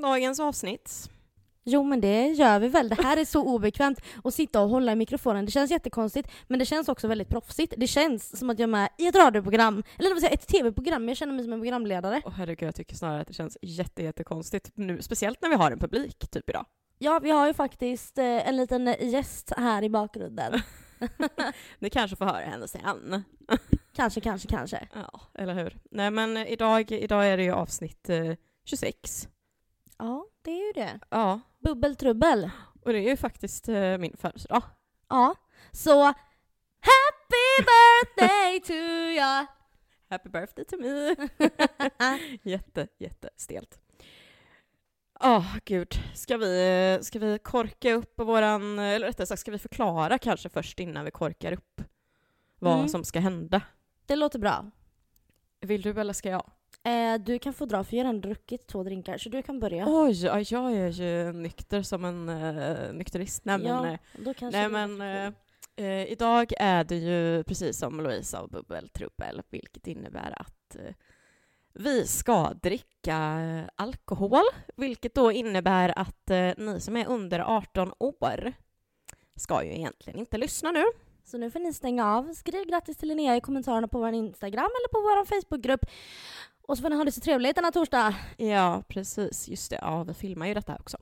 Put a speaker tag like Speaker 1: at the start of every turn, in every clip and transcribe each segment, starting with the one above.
Speaker 1: dagens avsnitt?
Speaker 2: Jo men det gör vi väl. Det här är så obekvämt att sitta och hålla i mikrofonen. Det känns jättekonstigt men det känns också väldigt proffsigt. Det känns som att jag är med i ett radioprogram, eller det vill säga ett tv-program. Jag känner mig som en programledare.
Speaker 1: Åh herregud, jag tycker snarare att det känns jätte, jättekonstigt nu. Speciellt när vi har en publik, typ idag.
Speaker 2: Ja, vi har ju faktiskt eh, en liten gäst här i bakgrunden.
Speaker 1: Ni kanske får höra henne sen.
Speaker 2: kanske, kanske, kanske.
Speaker 1: Ja, eller hur? Nej men eh, idag, idag är det ju avsnitt eh, 26.
Speaker 2: Ja, det är ju det.
Speaker 1: Ja,
Speaker 2: Bubbeltrubbel.
Speaker 1: och det är ju faktiskt eh, min födelsedag.
Speaker 2: Ja. Så happy birthday to ya!
Speaker 1: Happy birthday to me! jätte, jättestelt. Ja, gud. Ska vi, ska vi korka upp våran, eller rättare sagt ska vi förklara kanske först innan vi korkar upp vad
Speaker 2: Mm.
Speaker 1: som ska hända.
Speaker 2: Det låter bra.
Speaker 1: Vill du eller ska jag?
Speaker 2: Eh, du kan få dra för jag har redan druckit två drinkar så du kan börja.
Speaker 1: Oj, ja, jag är ju nykter som en eh, nykterist. Nej men,
Speaker 2: Ja,
Speaker 1: eh,
Speaker 2: då
Speaker 1: nej,
Speaker 2: kanske du-
Speaker 1: men eh, eh, idag är det ju precis som Lovisa och bubbeltrubbel, vilket innebär att eh, vi ska dricka eh, alkohol, vilket då innebär att eh, ni som är under 18 år ska ju egentligen inte lyssna nu.
Speaker 2: Så nu får ni stänga av. Skriv grattis till Linnea i kommentarerna på vår Instagram eller på vår Facebookgrupp. Och så får ni ha det så trevligt denna torsdag.
Speaker 1: Ja, precis. Just det, ja, vi filmar ju detta också.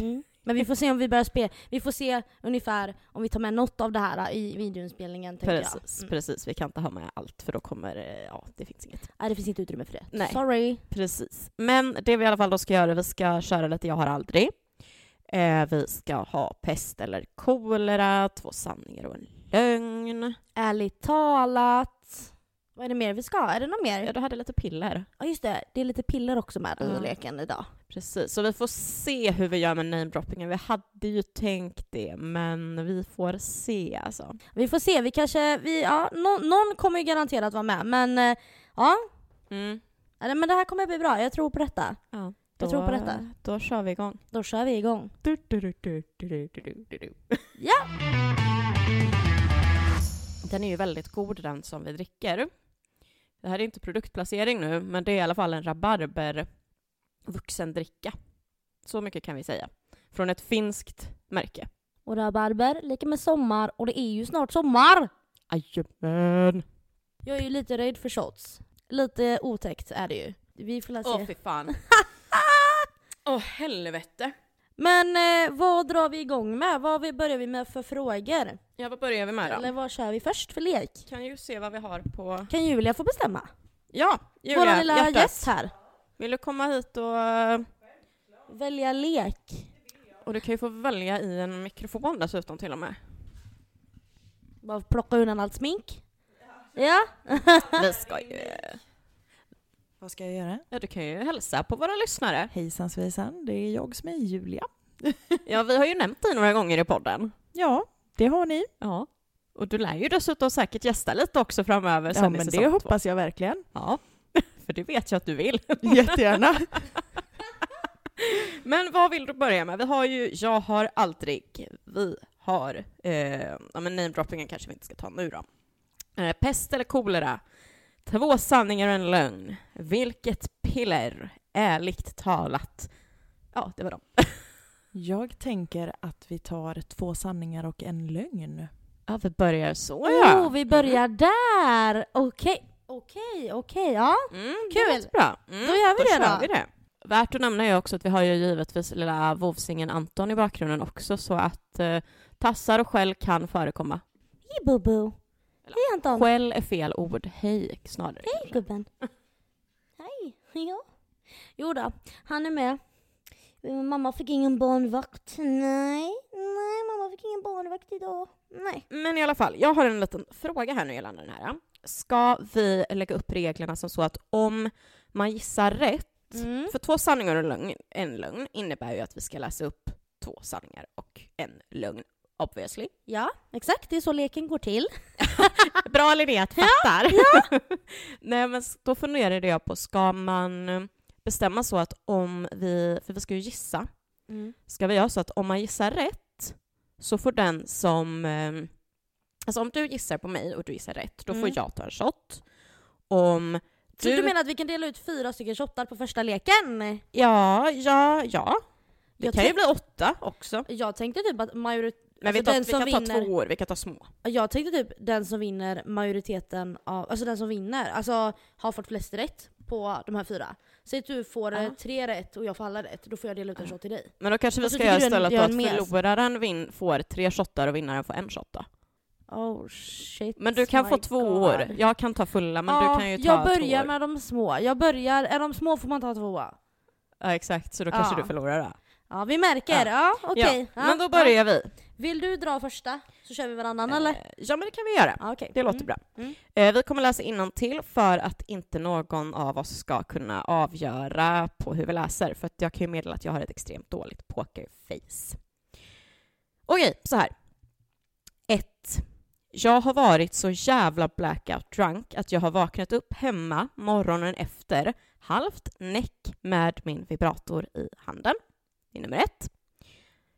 Speaker 1: Mm.
Speaker 2: Men vi får se om vi börjar spela. Vi får se ungefär om vi tar med något av det här i videoinspelningen. tänker jag. Mm.
Speaker 1: Precis, precis. Vi kan inte ha med allt för då kommer, eh, ja, det finns inget.
Speaker 2: Nej, det finns inte utrymme för det.
Speaker 1: Nej.
Speaker 2: Sorry.
Speaker 1: Precis. Men det vi i alla fall då ska göra, vi ska köra lite Jag har aldrig. Eh, vi ska ha pest eller kolera, två sanningar och en lögn.
Speaker 2: Ärligt talat. Vad är det mer vi ska? Är det något
Speaker 1: Ja, Mm.
Speaker 2: mer?
Speaker 1: du hade lite piller.
Speaker 2: Ja just det, det är lite piller också med
Speaker 1: Ja.
Speaker 2: i leken idag.
Speaker 1: Precis, så vi får se hur vi gör med namedroppingen. Vi hade ju tänkt det, men vi får se alltså.
Speaker 2: Vi får se, vi kanske, vi, ja, nå- någon kommer ju garanterat vara med men eh, ja,
Speaker 1: Mm.
Speaker 2: Nej, men det här kommer bli bra. Jag tror på detta.
Speaker 1: Ja,
Speaker 2: Jag tror på detta.
Speaker 1: Då kör vi igång.
Speaker 2: Då kör vi igång.
Speaker 1: Du, du, du, du, du, du, du, du, du.
Speaker 2: Ja!
Speaker 1: Den är ju väldigt god den som vi dricker. Det här är inte produktplacering nu, men det är i alla fall en rabarber vuxendricka. Så mycket kan vi säga. Från ett finskt märke.
Speaker 2: Och rabarber, lika med sommar och det är ju snart sommar!
Speaker 1: Jajamän!
Speaker 2: Jag är ju lite rädd för shots. Lite otäckt är det ju. Vi får la se.
Speaker 1: Åh fy fan. Åh helvete.
Speaker 2: Men eh, vad drar vi igång med? Vad vi- börjar vi med för frågor?
Speaker 1: Ja, vad börjar vi med
Speaker 2: Eller
Speaker 1: då?
Speaker 2: vad kör vi först för lek?
Speaker 1: Kan ju se vad vi har på...
Speaker 2: Kan Julia få bestämma?
Speaker 1: Ja,
Speaker 2: Vår
Speaker 1: Julia,
Speaker 2: lilla
Speaker 1: hjärtat.
Speaker 2: gäst här.
Speaker 1: Vill du komma hit och...
Speaker 2: Välja lek.
Speaker 1: Och du kan ju få välja i en mikrofon dessutom till och med.
Speaker 2: Bara plocka undan allt smink. Ja.
Speaker 1: Vi ska ju...
Speaker 3: Vad ska jag göra?
Speaker 1: Ja, du kan ju hälsa på våra lyssnare.
Speaker 3: Hejsan svejsan, det är jag som är Julia.
Speaker 1: Ja, vi har ju nämnt dig några gånger i podden.
Speaker 3: Ja, det har ni.
Speaker 1: Ja. Och du lär ju dessutom säkert gästa lite också framöver sen
Speaker 3: Ja,
Speaker 1: i
Speaker 3: men
Speaker 1: säsong
Speaker 3: det
Speaker 1: två.
Speaker 3: hoppas jag verkligen.
Speaker 1: Ja, för det vet jag att du vill.
Speaker 3: Jättegärna.
Speaker 1: Men vad vill du börja med? Vi har ju Jag har aldrig, vi har, eh, ja men namedroppingen kanske vi inte ska ta nu då. Eh, pest eller kolera? Två sanningar och en lögn. Vilket piller? Ärligt talat. Ja, det var dem.
Speaker 3: Jag tänker att vi tar två sanningar och en lögn.
Speaker 1: Ja, vi börjar så ja.
Speaker 2: Oh, vi börjar där! Okej, okej, okej. Ja,
Speaker 1: Mm,
Speaker 2: Kul.
Speaker 1: Det låter bra. Mm,
Speaker 2: Då gör vi det
Speaker 1: kör
Speaker 2: då.
Speaker 1: Vi det. Värt att nämna är också att vi har ju givetvis lilla vovsingen Anton i bakgrunden också så att eh, tassar och skäll kan förekomma.
Speaker 2: hej Bobo.
Speaker 1: Eller,
Speaker 2: Hej Anton.
Speaker 1: Skäll är fel ord, hej snarare.
Speaker 2: Hej gubben. Hej. Ja. Jo då, han är med. Men Mamma fick ingen barnvakt. Nej, nej mamma fick ingen barnvakt idag. Nej.
Speaker 1: Men i alla fall, jag har en liten fråga här nu gällande den här. Ska vi lägga upp reglerna som så att om man gissar rätt,
Speaker 2: Mm.
Speaker 1: för två sanningar och en lögn, en lögn innebär ju att vi ska läsa upp två sanningar och en lögn, obviously.
Speaker 2: Ja, exakt. Det är så leken går till.
Speaker 1: Bra Linnea att fattar. Nej men s- då funderade jag på, ska man eh, bestämma så att om vi, för vi ska ju gissa,
Speaker 2: Mm.
Speaker 1: ska vi göra så att om man gissar rätt så får den som, eh, alltså om du gissar på mig och du gissar rätt, då får
Speaker 2: Mm.
Speaker 1: jag ta en shot. Om
Speaker 2: Så du menar att vi kan dela ut fyra stycken shottar på första leken?
Speaker 1: Ja, ja, ja. Det
Speaker 2: Jag
Speaker 1: kan ju
Speaker 2: tänk-
Speaker 1: bli åtta också.
Speaker 2: Jag tänkte typ att majoritet...
Speaker 1: Men vi,
Speaker 2: Alltså,
Speaker 1: tar,
Speaker 2: den
Speaker 1: vi
Speaker 2: som
Speaker 1: kan ta
Speaker 2: vinner-
Speaker 1: två år, vi kan ta små.
Speaker 2: Jag tänkte typ den som vinner majoriteten av... Alltså den som vinner, alltså har fått flest rätt på de här fyra. Säg att du får eh,
Speaker 1: Ja.
Speaker 2: tre rätt och jag får alla rätt, då får jag dela ut en shot till dig.
Speaker 1: Men då kanske vi
Speaker 2: Och så
Speaker 1: ska
Speaker 2: tycker
Speaker 1: göra
Speaker 2: du en-
Speaker 1: istället då
Speaker 2: gör
Speaker 1: att
Speaker 2: en mes.
Speaker 1: förloraren vin, får tre shottar och vinnaren får en shot då.
Speaker 2: Oh shit.
Speaker 1: Men du kan
Speaker 2: Oh my
Speaker 1: få två
Speaker 2: God.
Speaker 1: år. Jag kan ta fulla men
Speaker 2: Ja,
Speaker 1: du kan ju ta
Speaker 2: Jag börjar
Speaker 1: två år.
Speaker 2: med de små. Jag börjar... Är de små får man ta tvåa.
Speaker 1: Ja, exakt, så då kanske
Speaker 2: Ja.
Speaker 1: du förlorar då.
Speaker 2: Ja, vi märker. Ja, okej.
Speaker 1: ja.
Speaker 2: Ja,
Speaker 1: Men då
Speaker 2: ja.
Speaker 1: börjar vi.
Speaker 2: Vill du dra första? Så kör vi varannan eller?
Speaker 1: Eh, Ja, men det kan vi göra.
Speaker 2: Ja, okej.
Speaker 1: Det låter
Speaker 2: Mm.
Speaker 1: bra.
Speaker 2: Mm.
Speaker 1: Eh, Vi kommer läsa till för att inte någon av oss ska kunna avgöra på hur vi läser. För att jag kan ju meddela att jag har ett extremt dåligt pokerface. Okej, så här. 1. Jag har varit så jävla blackout drunk att jag har vaknat upp hemma morgonen efter halvt näck med min vibrator i handen. Det är nummer ett.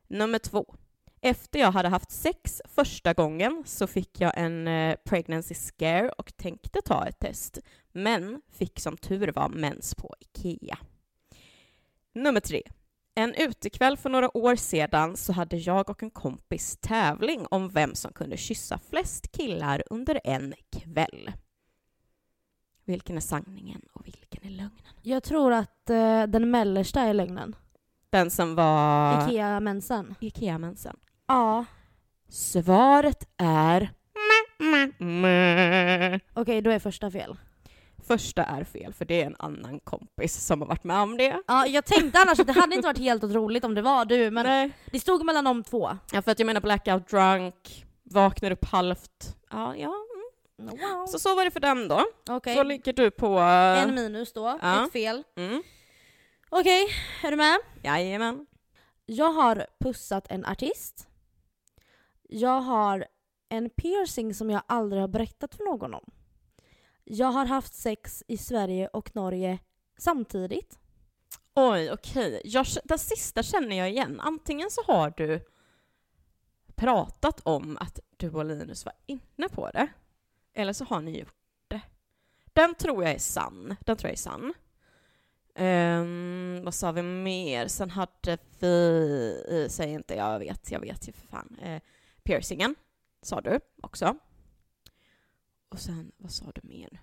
Speaker 1: Nummer två. Efter jag hade haft sex första gången så fick jag en eh, pregnancy scare och tänkte ta ett test, men fick som tur var mens på IKEA. Nummer tre. En utekväll för några år sedan så hade jag och en kompis tävling om vem som kunde kyssa flest killar under en kväll. Vilken är sanningen och vilken är lögnen?
Speaker 2: Jag tror att eh, den mellersta är lögnen.
Speaker 1: Den som var...
Speaker 2: Ikea-mensen.
Speaker 1: Ikea-mensen.
Speaker 2: Ja.
Speaker 1: Svaret är...
Speaker 2: Okej, då är första fel.
Speaker 1: Första är fel, för det är en annan kompis som har varit med om det.
Speaker 2: Ja, jag tänkte annars att det hade inte varit helt otroligt om det var du, men
Speaker 1: Nej.
Speaker 2: det stod mellan de två.
Speaker 1: eh, Ja, för att jag menar blackout drunk, vaknar upp halvt. Ja, ja.
Speaker 2: Wow.
Speaker 1: Så så var det för den då.
Speaker 2: Okej,
Speaker 1: Så ligger du på... eh,
Speaker 2: en minus då.
Speaker 1: Ja.
Speaker 2: Ett fel.
Speaker 1: Mm.
Speaker 2: Okej, är du med?
Speaker 1: Jajamän.
Speaker 2: Jag har pussat en artist. Jag har en piercing som jag aldrig har berättat för någon om. Jag har haft sex i Sverige och Norge samtidigt.
Speaker 1: Oj, okej. Jag k- Den sista känner jag igen. Antingen så har du pratat om att du och Linus var inne på det, eller så har ni gjort det. Den tror jag är sann. Den tror jag är sann. Ehm, vad sa vi mer? Sen hade vi... Säg inte, jag vet, jag vet ju för fan. Eh, piercingen sa du också. Och sen, vad sa du mer?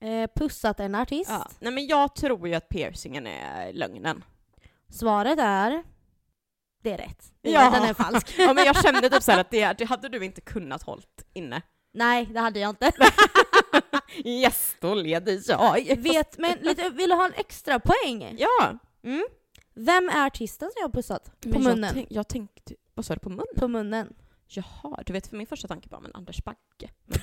Speaker 2: Eh, pussat en artist.
Speaker 1: Ja. Nej men jag tror ju att piercingen är lögnen.
Speaker 2: Svaret är... Det är rätt. Det är
Speaker 1: Ja.
Speaker 2: rätt, Den är falsk.
Speaker 1: Ja men jag kände typ såhär att det, det hade du inte kunnat hållt inne.
Speaker 2: Nej, det hade jag inte.
Speaker 1: Yes, då leder jag.
Speaker 2: Vet, men lite, vill du ha en extra poäng?
Speaker 1: Ja.
Speaker 2: Vem är artisten som jag har pussat? På
Speaker 1: Men
Speaker 2: munnen.
Speaker 1: Jag, tänk, jag tänkte, vad sa du på munnen?
Speaker 2: På munnen.
Speaker 1: Jaha, du vet för min första tanke var men Anders Bagge.
Speaker 2: Anders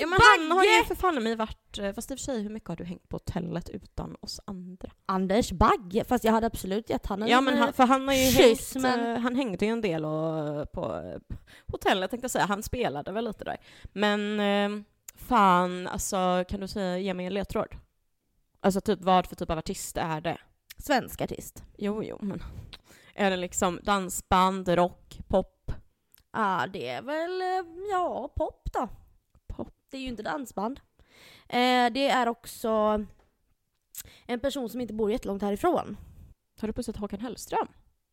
Speaker 1: Ja, men han har ju för fan i mig varit, eh, fast i och för sig hur mycket har du hängt på hotellet utan oss andra?
Speaker 2: Anders Bagge. Fast jag hade absolut gett han en... eh,
Speaker 1: ja men eh, han, för han har ju
Speaker 2: kyss,
Speaker 1: hängt,
Speaker 2: men-
Speaker 1: eh, han hängde ju en del och, på eh, hotellet tänkte jag säga, han spelade väl lite där. Men eh, fan alltså kan du säga, ge mig en ledtråd? Alltså typ vad för typ av artist är det?
Speaker 2: Svensk artist.
Speaker 1: Jo, jo, men är det liksom dansband, rock, pop?
Speaker 2: Ja, det är väl, eh, ja, pop då.
Speaker 1: Pop.
Speaker 2: Det är ju inte dansband. Eh, det är också en person som inte bor jättelångt härifrån.
Speaker 1: Har du pussat Håkan Hellström?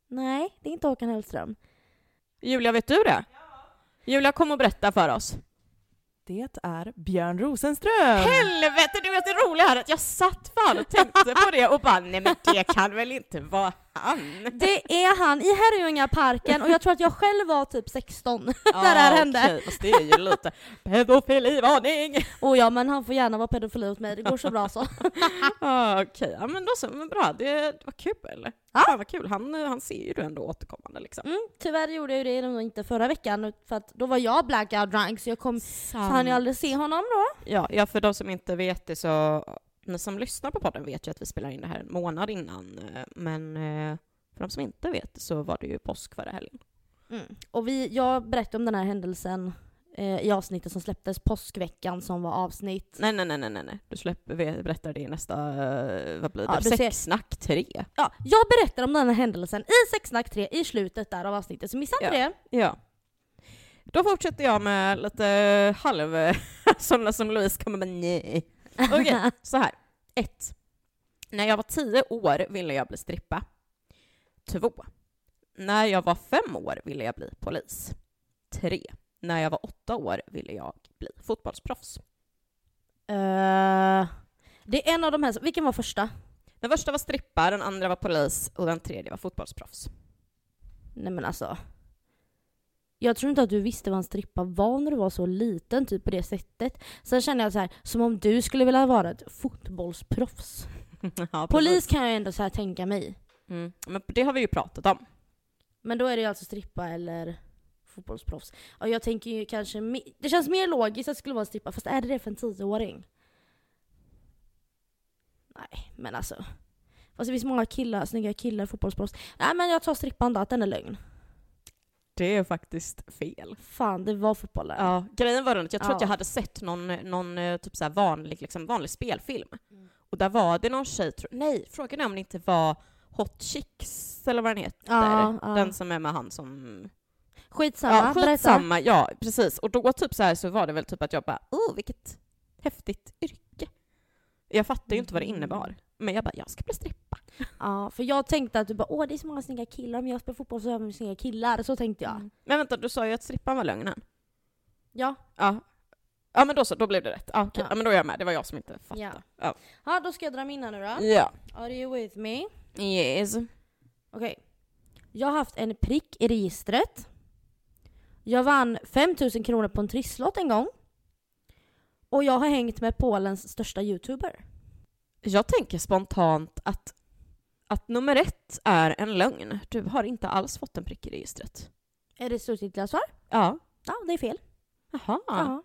Speaker 2: Nej, det är inte Håkan Hellström.
Speaker 1: Julia, vet du det? Julia, kom och berätta för oss.
Speaker 3: Det är Björn
Speaker 1: Ehm.
Speaker 3: Rosenström!
Speaker 1: Helvete, du vet det roliga här att jag satt fan och tänkte på det och bara nej men det kan väl inte vara han?
Speaker 2: Det är han i Herrljungaparken och jag tror att jag själv var typ 16 när det här hände.
Speaker 1: okej, fast det är ju lite pedofilivarning.
Speaker 2: Och ja, men han får gärna vara pedofili åt mig, det går så bra så.
Speaker 1: Ah, okej, ja men då så, men bra, det, det var kul.
Speaker 2: Ja.
Speaker 1: Fan vad kul, han, han ser ju du ändå återkommande liksom.
Speaker 2: Mm, tyvärr gjorde jag ju det nog inte förra veckan för att då var jag blackout drunk så jag
Speaker 1: Mm,
Speaker 2: kom så hann jag aldrig se honom då.
Speaker 1: Ja, ja, för de som inte vet det så, ni som lyssnar på podden vet ju att vi spelar in det här en månad innan, eh, men eh, för de som inte vet så var det ju påsk förra helgen.
Speaker 2: Mm. Och vi, jag berättade om den här händelsen eh, i avsnittet som släpptes påskveckan som var avsnitt.
Speaker 1: Nej, nej, nej, nej, nej, nej. du släpper, vi berättar det i nästa, eh, vad blir det,
Speaker 2: Ja, du ser.
Speaker 1: sexsnack 3?
Speaker 2: Ja, jag berättar om den här händelsen i Sexsnack 3 i slutet där av avsnittet, så missa inte det.
Speaker 1: Ja. Då fortsätter jag med lite halv, sådana som Louise kommer med nej. Okej, så här. 1. När jag var 10 år ville jag bli strippa. 2. När jag var 5 år ville jag bli polis. 3. När jag var 8 år ville jag bli fotbollsproffs.
Speaker 2: Eh, det är en av de här, som- vilken var första?
Speaker 1: Den första var strippa, den andra var polis och den tredje var fotbollsproffs.
Speaker 2: Nej men alltså. Jag tror inte att du visste vad en strippa var när du var så liten, typ på det sättet. Sen känner jag så här, som om du skulle vilja vara ett fotbollsproffs.
Speaker 1: Ja, precis.
Speaker 2: Polis kan jag ändå så här tänka mig.
Speaker 1: Mm. Men det har vi ju pratat om.
Speaker 2: Men då är det ju alltså strippa eller fotbollsproffs. Och jag tänker ju kanske, me- det känns mer logiskt att det skulle vara en strippa, fast är det det för en tioåring? Nej, men alltså. Fast det finns många killar, snygga killar, fotbollsproffs. Nej men jag tar strippan då, att den är lögn.
Speaker 1: Det är faktiskt fel.
Speaker 2: Fan, det var fotbollen.
Speaker 1: Ja, grejen var den att jag tror
Speaker 2: Ja.
Speaker 1: att jag hade sett någon, någon eh, typ så här vanlig, liksom, vanlig spelfilm.
Speaker 2: Mm.
Speaker 1: Och där var det någon tjej, tro, nej, frågan är om det inte var Hot Chicks eller vad den heter.
Speaker 2: Ja, ja.
Speaker 1: Den som är med han som...
Speaker 2: Skitsamma,
Speaker 1: Ja,
Speaker 2: berätta.
Speaker 1: skitsamma. Ja, precis. Och då typ så här så var det väl typ att jag bara, oh vilket häftigt yrke. Jag fattade ju inte vad det
Speaker 2: Mm.
Speaker 1: innebar. Men jag bara, jag ska bli strippa.
Speaker 2: Ja, för jag tänkte att du bara åh det är så många snygga killar, om jag spelar fotboll så är jag snygga killar. Så tänkte jag.
Speaker 1: Men vänta, du sa ju att strippan var lögnen.
Speaker 2: Ja.
Speaker 1: Ja. Ja men då så, då blev det rätt. Ja, okej.
Speaker 2: Ja.
Speaker 1: ja men då är jag med, det var jag som inte fattade.
Speaker 2: Ja.
Speaker 1: Ja.
Speaker 2: ja, då ska jag dra mina nu då.
Speaker 1: Ja.
Speaker 2: Are you with me?
Speaker 1: Yes.
Speaker 2: Okej. Jag har haft en prick i registret. Jag vann 5000 kronor på en trisslott en gång. Och jag har hängt med Polens största youtuber.
Speaker 1: Jag tänker spontant att, att nummer ett är en lögn. Du har inte alls fått en prick i registret.
Speaker 2: Är det slutgiltiga svar?
Speaker 1: Ja.
Speaker 2: Ja, det är fel.
Speaker 1: Jaha.
Speaker 2: Ja.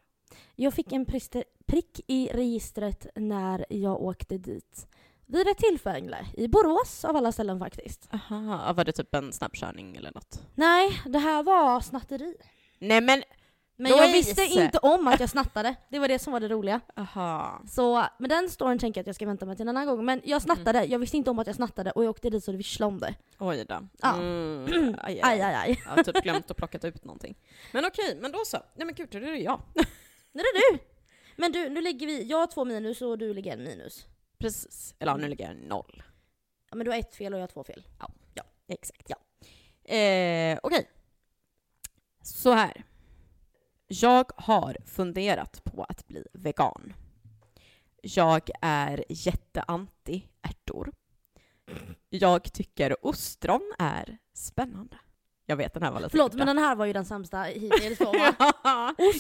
Speaker 2: Jag fick en priste- prick i registret när jag åkte dit. Vid ett tillfälle. I Borås av alla ställen faktiskt.
Speaker 1: Aha. Ja, Var det typ en snabbkörning eller något?
Speaker 2: Nej, det här var snatteri.
Speaker 1: Nej men!
Speaker 2: Men
Speaker 1: Louise!
Speaker 2: jag visste inte om att jag snattade. Det var det som var det roliga.
Speaker 1: Aha.
Speaker 2: Så, men den storyn tänker jag att jag ska vänta med till en annan gång. Men
Speaker 1: Mm.
Speaker 2: jag snattade, jag visste inte om att jag snattade och jag åkte dit så det visslade om det.
Speaker 1: Oj då.
Speaker 2: Ja.
Speaker 1: Mm. Aj,
Speaker 2: Aj,
Speaker 1: aj,
Speaker 2: aj, aj.
Speaker 1: Jag har typ glömt att plocka ut någonting. Men okej, men då så. Nej men gud, då är det jag.
Speaker 2: Nu är det du! Men du, nu ligger vi, jag har två minus och du ligger en minus.
Speaker 1: Precis. Eller ja, nu ligger jag noll.
Speaker 2: Ja, men du har ett fel och jag har två fel.
Speaker 1: Exakt. Ja. Eh, okej. Så här. Jag har funderat på att bli vegan. Jag är jätteanti ärtor. Jag tycker ostron är spännande. Jag vet den här var lite
Speaker 2: Förlåt,
Speaker 1: korta.
Speaker 2: men den här var ju den sämsta hittills då va?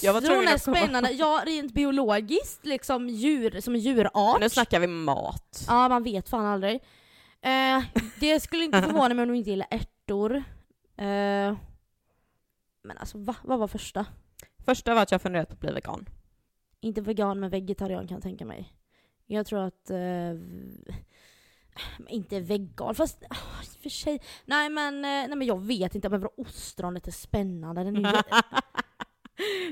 Speaker 1: Jag var
Speaker 2: Ostron
Speaker 1: tvungen
Speaker 2: är
Speaker 1: att komma-
Speaker 2: spännande. Ja, rent biologiskt liksom djur, som djurart.
Speaker 1: Nu snackar vi mat.
Speaker 2: Ja, man vet fan aldrig. Eh, det skulle inte förvåna mig om du inte gillar ärtor. Eh, men alltså va? Vad var första?
Speaker 1: Första var att jag funderat på att bli vegan.
Speaker 2: Inte vegan men vegetarian kan jag tänka mig. Jag tror att... eh, men inte vegan, fast ah, i och för sig. Nej men, eh, nej men jag vet inte, men vadå ostronet är spännande. Den är, ju-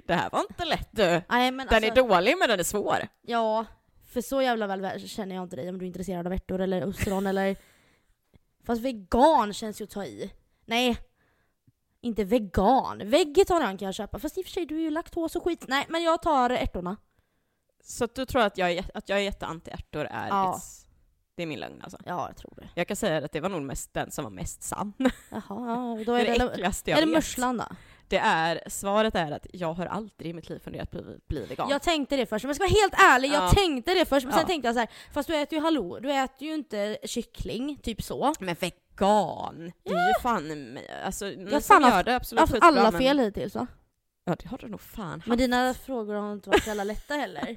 Speaker 1: det här var inte lätt du.
Speaker 2: nej, Mm. men
Speaker 1: Den
Speaker 2: alltså,
Speaker 1: är dålig men den är svår.
Speaker 2: Ja, för så jävla väl känner jag inte dig om du är intresserad av ärtor eller ostron eller... Fast vegan känns ju att ta i. Nej. Inte vegan. Vegetarian kan jag köpa. Fast i och för sig, du är ju laktos och skit. Nej, men jag tar ärtorna.
Speaker 1: Så att du tror att jag är, jä- att jag är jätteanti ärtor är
Speaker 2: Ja.
Speaker 1: it's- det är min lögn alltså.
Speaker 2: Ja, jag tror det.
Speaker 1: Jag kan säga att det var nog mest den som var mest sann.
Speaker 2: Jaha, ja, då
Speaker 1: Det
Speaker 2: är
Speaker 1: är det
Speaker 2: det...
Speaker 1: äckligaste jag
Speaker 2: Är det
Speaker 1: vet.
Speaker 2: musslan då?
Speaker 1: Det är, svaret är att jag har aldrig i mitt liv funderat på att bli- bli vegan.
Speaker 2: Jag tänkte det först, men jag ska vara helt ärlig, jag
Speaker 1: Ja.
Speaker 2: tänkte det först men sen
Speaker 1: Ja.
Speaker 2: tänkte jag så här, fast du äter ju hallå, du äter ju inte kyckling, typ så.
Speaker 1: Men vegan, det är ju fan i mig. Alltså, jag
Speaker 2: fan
Speaker 1: fan
Speaker 2: har
Speaker 1: gör
Speaker 2: haft-
Speaker 1: det absolut
Speaker 2: Alltså,
Speaker 1: skitbra,
Speaker 2: alla
Speaker 1: men-
Speaker 2: fel hittills va?
Speaker 1: Ja det har du nog fan
Speaker 2: Men
Speaker 1: haft.
Speaker 2: dina frågor har inte varit så jävla lätta heller.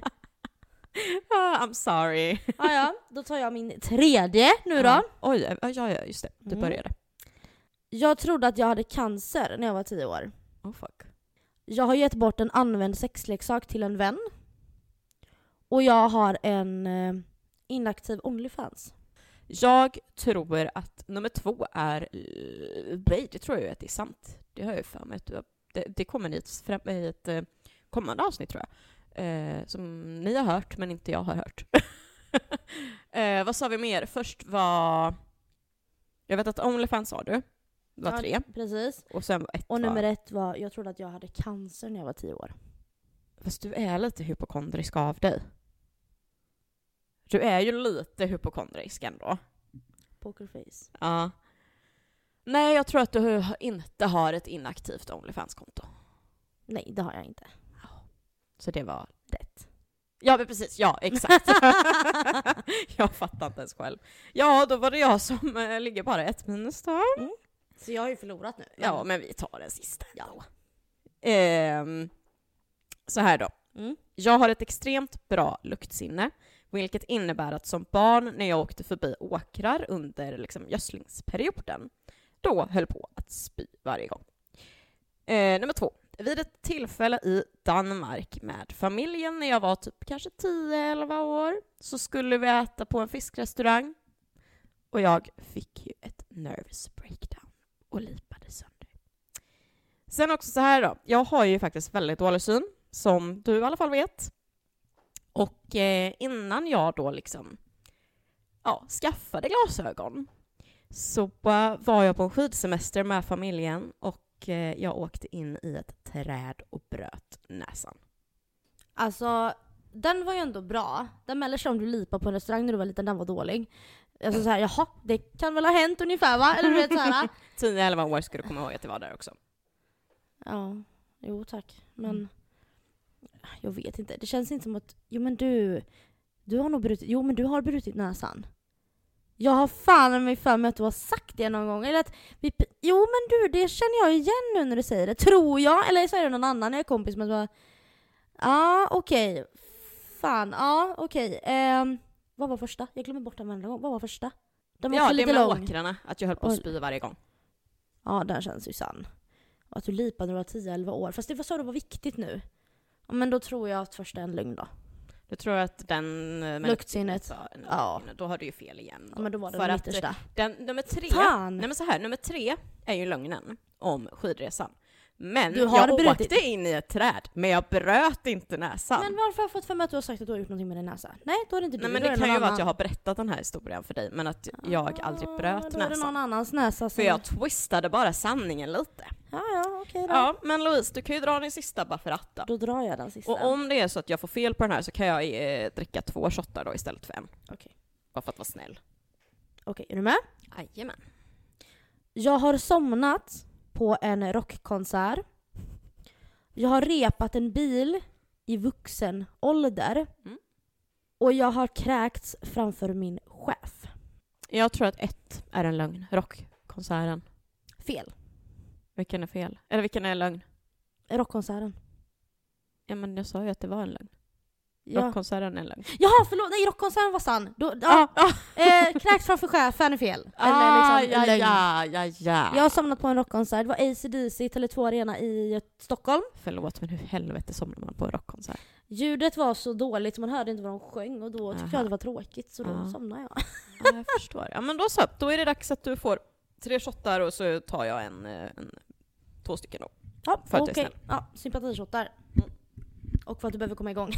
Speaker 1: Ah, I'm sorry.
Speaker 2: Ja, ja, då tar jag min tredje nu då.
Speaker 1: Ja. Oj, ja, ja ja, just det. Du
Speaker 2: Mm.
Speaker 1: började.
Speaker 2: Jag trodde att jag hade cancer när jag var tio år.
Speaker 1: Oh fuck.
Speaker 2: Jag har gett bort en använd sexleksak till en vän. Och jag har en eh, inaktiv Onlyfans.
Speaker 1: Jag tror att nummer två är... eh, Nej, det tror jag ju att det är sant. Det har jag ju för mig att du har... Det, det kommer i ett, fram, i ett eh, kommande avsnitt tror jag. Eh, som ni har hört, men inte jag har hört. eh, vad sa vi mer? Först var... Jag vet att Onlyfans sa du. Det var
Speaker 2: Ja.
Speaker 1: tre.
Speaker 2: Precis.
Speaker 1: Och sen var ett
Speaker 2: Och nummer
Speaker 1: var...
Speaker 2: ett var, jag trodde att jag hade cancer när jag var tio år.
Speaker 1: Fast du är lite hypokondrisk av dig. Du är ju lite hypokondrisk ändå.
Speaker 2: Pokerface.
Speaker 1: Ja. Nej, jag tror att du inte har ett inaktivt Onlyfans-konto.
Speaker 2: Nej, det har jag inte.
Speaker 1: Så det var...
Speaker 2: Rätt.
Speaker 1: Ja, men precis. Ja, exakt. jag fattar inte ens själv. Ja, då var det jag som eh, ligger bara ett minus då.
Speaker 2: Så jag har ju förlorat nu. Mm.
Speaker 1: Ja, men vi tar den sista ändå. Ehm, så här då.
Speaker 2: Mm.
Speaker 1: Jag har ett extremt bra luktsinne, vilket innebär att som barn när jag åkte förbi åkrar under liksom, gödslingsperioden, då höll på att spy varje gång. Eh, nummer två. Vid ett tillfälle i Danmark med familjen när jag var typ kanske 10-11 år så skulle vi äta på en fiskrestaurang och jag fick ju ett nervous breakdown och lipade sönder. Sen också så här då. Jag har ju faktiskt väldigt dålig syn, som du i alla fall vet. Och eh, innan jag då liksom ja, skaffade glasögon så eh, var jag på en skidsemester med familjen och eh, jag åkte in i ett träd och bröt näsan.
Speaker 2: Alltså, den var ju ändå bra. Den mellersta om du lipar på en restaurang när du var liten, den var dålig. Alltså såhär, jaha, det kan väl ha hänt ungefär va? Eller du vet såhär.
Speaker 1: 10-11 år ska du komma ihåg att det var där också.
Speaker 2: Ja, jo tack. Men
Speaker 3: Mm.
Speaker 2: jag vet inte. Det känns inte som att, jo men du, du har nog brutit, jo men du har brutit näsan. Jag har fan mig för mig att du har sagt det någon gång. Eller att vi, jo men du, det känner jag igen nu när du säger det. Tror jag, eller så är det någon annan jag är kompis med som bara, ja okej, fan, ja okej. Ehm, vad var första? Jag glömmer bort den varenda gång. Vad var första? Den var
Speaker 1: Ja,
Speaker 2: också
Speaker 1: det
Speaker 2: lite
Speaker 1: med
Speaker 2: lång.
Speaker 1: åkrarna, att jag höll på att
Speaker 2: Oj.
Speaker 1: spy varje gång.
Speaker 2: Ja, den känns ju sann. Och att du lipade när du var 10-11 år. Fast det var så det var viktigt nu. Ja, Men då tror jag att första är en lögn då.
Speaker 1: Du tror att den... eh, men-
Speaker 2: Luktsinnet.
Speaker 1: sa en-
Speaker 2: Ja.
Speaker 1: Då har du ju fel igen.
Speaker 2: Ja, men då var det
Speaker 1: För
Speaker 2: den
Speaker 1: att, eh,
Speaker 2: yttersta.
Speaker 1: Den, nummer tre...
Speaker 2: Fan!
Speaker 1: Nej men så här, nummer tre är ju lögnen om skidresan. Men
Speaker 2: Du har
Speaker 1: jag
Speaker 2: brutit-
Speaker 1: åkte in i ett träd, men jag bröt inte näsan.
Speaker 2: Men varför har jag fått för mig att du har sagt att du har gjort någonting med din näsa? Nej, då är det inte du.
Speaker 1: Nej men
Speaker 2: då är
Speaker 1: det kan
Speaker 2: någon
Speaker 1: ju vara
Speaker 2: annan.
Speaker 1: att jag har berättat den här historien för dig, men att jag aldrig
Speaker 2: Ah,
Speaker 1: bröt
Speaker 2: Då är det någon
Speaker 1: näsan.
Speaker 2: annans näsa
Speaker 1: För
Speaker 2: som...
Speaker 1: jag twistade bara sanningen lite.
Speaker 2: Ja, ja, okej då.
Speaker 1: Ja, men Louise, du kan ju dra din sista bara för att då.
Speaker 2: Då drar jag den sista.
Speaker 1: Och om det är så att jag får fel på den här så kan jag eh, dricka två shottar då istället för en.
Speaker 2: Okej.
Speaker 1: Bara för att vara snäll.
Speaker 2: Okej, är du med?
Speaker 1: Jajamän.
Speaker 2: Jag har somnat på en rockkonsert. Jag har repat en bil i vuxen ålder.
Speaker 1: Mm.
Speaker 2: Och jag har kräkts framför min chef.
Speaker 1: Jag tror att ett är en lögn. Rockkonserten.
Speaker 2: Fel.
Speaker 1: Vilken är fel? Eller vilken är lögn?
Speaker 2: Rockkonserten.
Speaker 1: Ja men jag sa ju att det var en lögn.
Speaker 2: Ja.
Speaker 1: Rockkonserten är en lögn.
Speaker 2: Jaha, förlåt! Nej, rockkonserten var sann. Då, ja,
Speaker 1: Ja, ah,
Speaker 2: eh, kräks framför chefen är fel. Eller liksom
Speaker 1: ja,
Speaker 2: lögn.
Speaker 1: ja, ja, ja.
Speaker 2: Jag har somnat på en rockkonsert. Det var ACDC i Tele2 Arena i Stockholm.
Speaker 1: Förlåt men hur helvete somnar man på en rockkonsert?
Speaker 2: Ljudet var så dåligt, man hörde inte vad de sjöng och då tyckte
Speaker 1: Aha. Ah.
Speaker 2: jag att det var tråkigt så då
Speaker 1: Ja.
Speaker 2: somnade jag.
Speaker 1: Ja, jag förstår. Ja men då så, då är det dags att du får tre shottar och så tar jag en, eh, en två stycken då.
Speaker 2: Ja,
Speaker 1: För att jag är
Speaker 2: okej. Ja, sympatishotar. Och för att du behöver komma igång.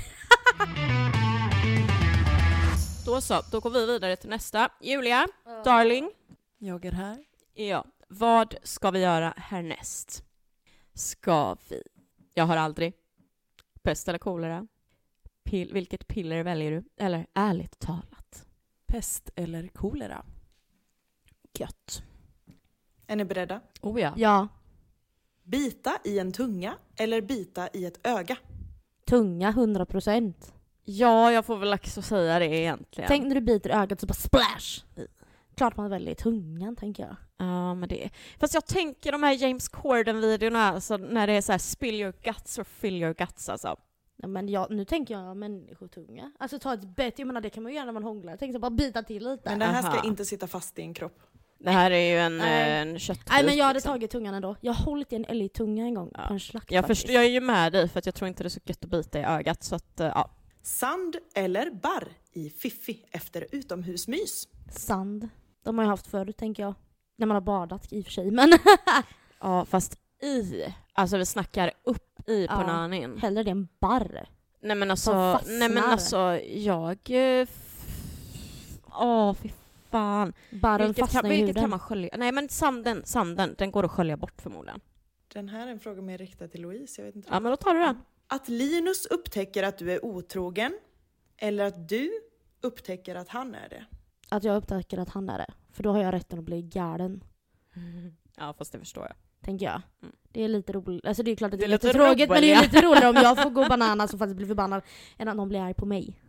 Speaker 1: Då så, då går vi vidare till nästa. Julia, darling.
Speaker 3: Jag är här.
Speaker 1: Ja, vad ska vi göra härnäst? Ska vi? Jag har aldrig. Pest eller kolera? Pill, vilket piller väljer du? Eller ärligt talat.
Speaker 3: Pest eller kolera?
Speaker 1: Gött.
Speaker 4: Är ni beredda?
Speaker 1: Oh ja.
Speaker 2: Ja,
Speaker 4: Bita i en tunga eller bita i ett öga?
Speaker 2: tunga 100%.
Speaker 1: Ja, jag får väl också säga det egentligen.
Speaker 2: Tänk när du biter i ögat så bara splash! Klart man väljer tungan tänker jag.
Speaker 1: Ja, men det är... Fast jag tänker de här James Corden-videorna, alltså, när det är så här spill your guts or fill your guts alltså.
Speaker 2: Ja, men jag, nu tänker jag människotunga. Alltså ta ett bett, jag menar det kan man ju göra när man hånglar. Tänk så bara bita till lite.
Speaker 4: Men det här
Speaker 1: Aha.
Speaker 4: ska inte sitta fast i en kropp.
Speaker 1: Det här är ju en,
Speaker 2: Nej.
Speaker 1: eh, en köttbit.
Speaker 2: Nej men jag hade
Speaker 1: liksom.
Speaker 2: tagit tungan ändå. Jag har hållit i en älgtunga en gång
Speaker 1: Ja.
Speaker 2: på en slakt
Speaker 1: jag,
Speaker 2: faktiskt.
Speaker 1: förstår, jag är ju med dig för att jag tror inte det är så gött att bita i ögat så att, eh, ja.
Speaker 4: Sand eller barr i fiffi efter utomhusmys?
Speaker 2: Sand. De har jag haft förr tänker jag. När man har badat i och för sig men
Speaker 1: Ja, fast i. Alltså vi snackar upp i
Speaker 2: Ja.
Speaker 1: på nanin.
Speaker 2: hellre det än barr.
Speaker 1: Nej men
Speaker 2: Som
Speaker 1: alltså,
Speaker 2: fastnar.
Speaker 1: nej men alltså jag... eh, f- Åh, fy fan.
Speaker 2: Barren
Speaker 1: Vilket
Speaker 2: fastnar
Speaker 1: kan,
Speaker 2: i
Speaker 1: vilket
Speaker 2: huden.
Speaker 1: kan man skölja? Nej men sanden, sanden, den går att skölja bort förmodligen.
Speaker 4: Den här är en fråga mer riktad till Louise, jag vet inte.
Speaker 1: Ja men då tar du den.
Speaker 4: Att Linus upptäcker att du är otrogen eller att du upptäcker att han är det.
Speaker 2: Att jag upptäcker att han är det. För då har jag rätten att bli galen,
Speaker 1: Ja, fast det förstår jag.
Speaker 2: tänker jag.
Speaker 1: Mm.
Speaker 2: Det är lite roligt, alltså det är klart att
Speaker 1: Det
Speaker 2: det
Speaker 1: är
Speaker 2: är
Speaker 1: lite
Speaker 2: jättetråkigt men det är
Speaker 1: roligt,
Speaker 2: lite roligare om jag får gå bananas och faktiskt bli förbannad än att någon blir arg på mig.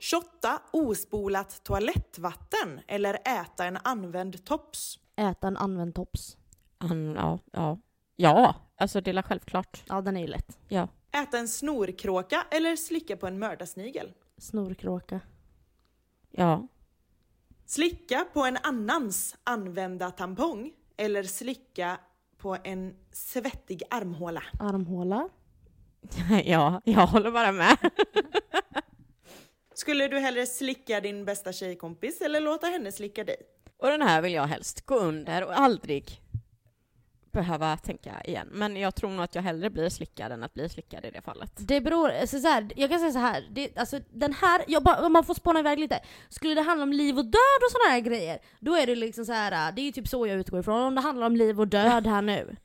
Speaker 4: Shotta ospolat toalettvatten eller äta en använd tops.
Speaker 2: Äta en använd tops.
Speaker 1: Han, ja, ja. Ja, alltså det är självklart.
Speaker 2: Ja den är ju lätt.
Speaker 4: Äta en snorkråka eller slicka på en mördarsnigel.
Speaker 2: Snorkråka.
Speaker 1: Ja.
Speaker 4: Slicka på en annans använda tampong eller slicka på en svettig armhåla.
Speaker 2: Armhåla.
Speaker 1: ja, jag håller bara med.
Speaker 4: Skulle du hellre slicka din bästa tjejkompis eller låta henne slicka dig?
Speaker 1: Och den här vill jag helst gå under och aldrig behöva tänka igen. Men jag tror nog att jag hellre blir slickad än att bli slickad i det fallet.
Speaker 2: Det beror, alltså så här, jag kan säga så här. Det, alltså, den här, jag bara, om man får spåna iväg lite. Skulle det handla om liv och död och sådana här grejer, då är det liksom så här. det är ju typ så jag utgår ifrån om det handlar om liv och död här nu.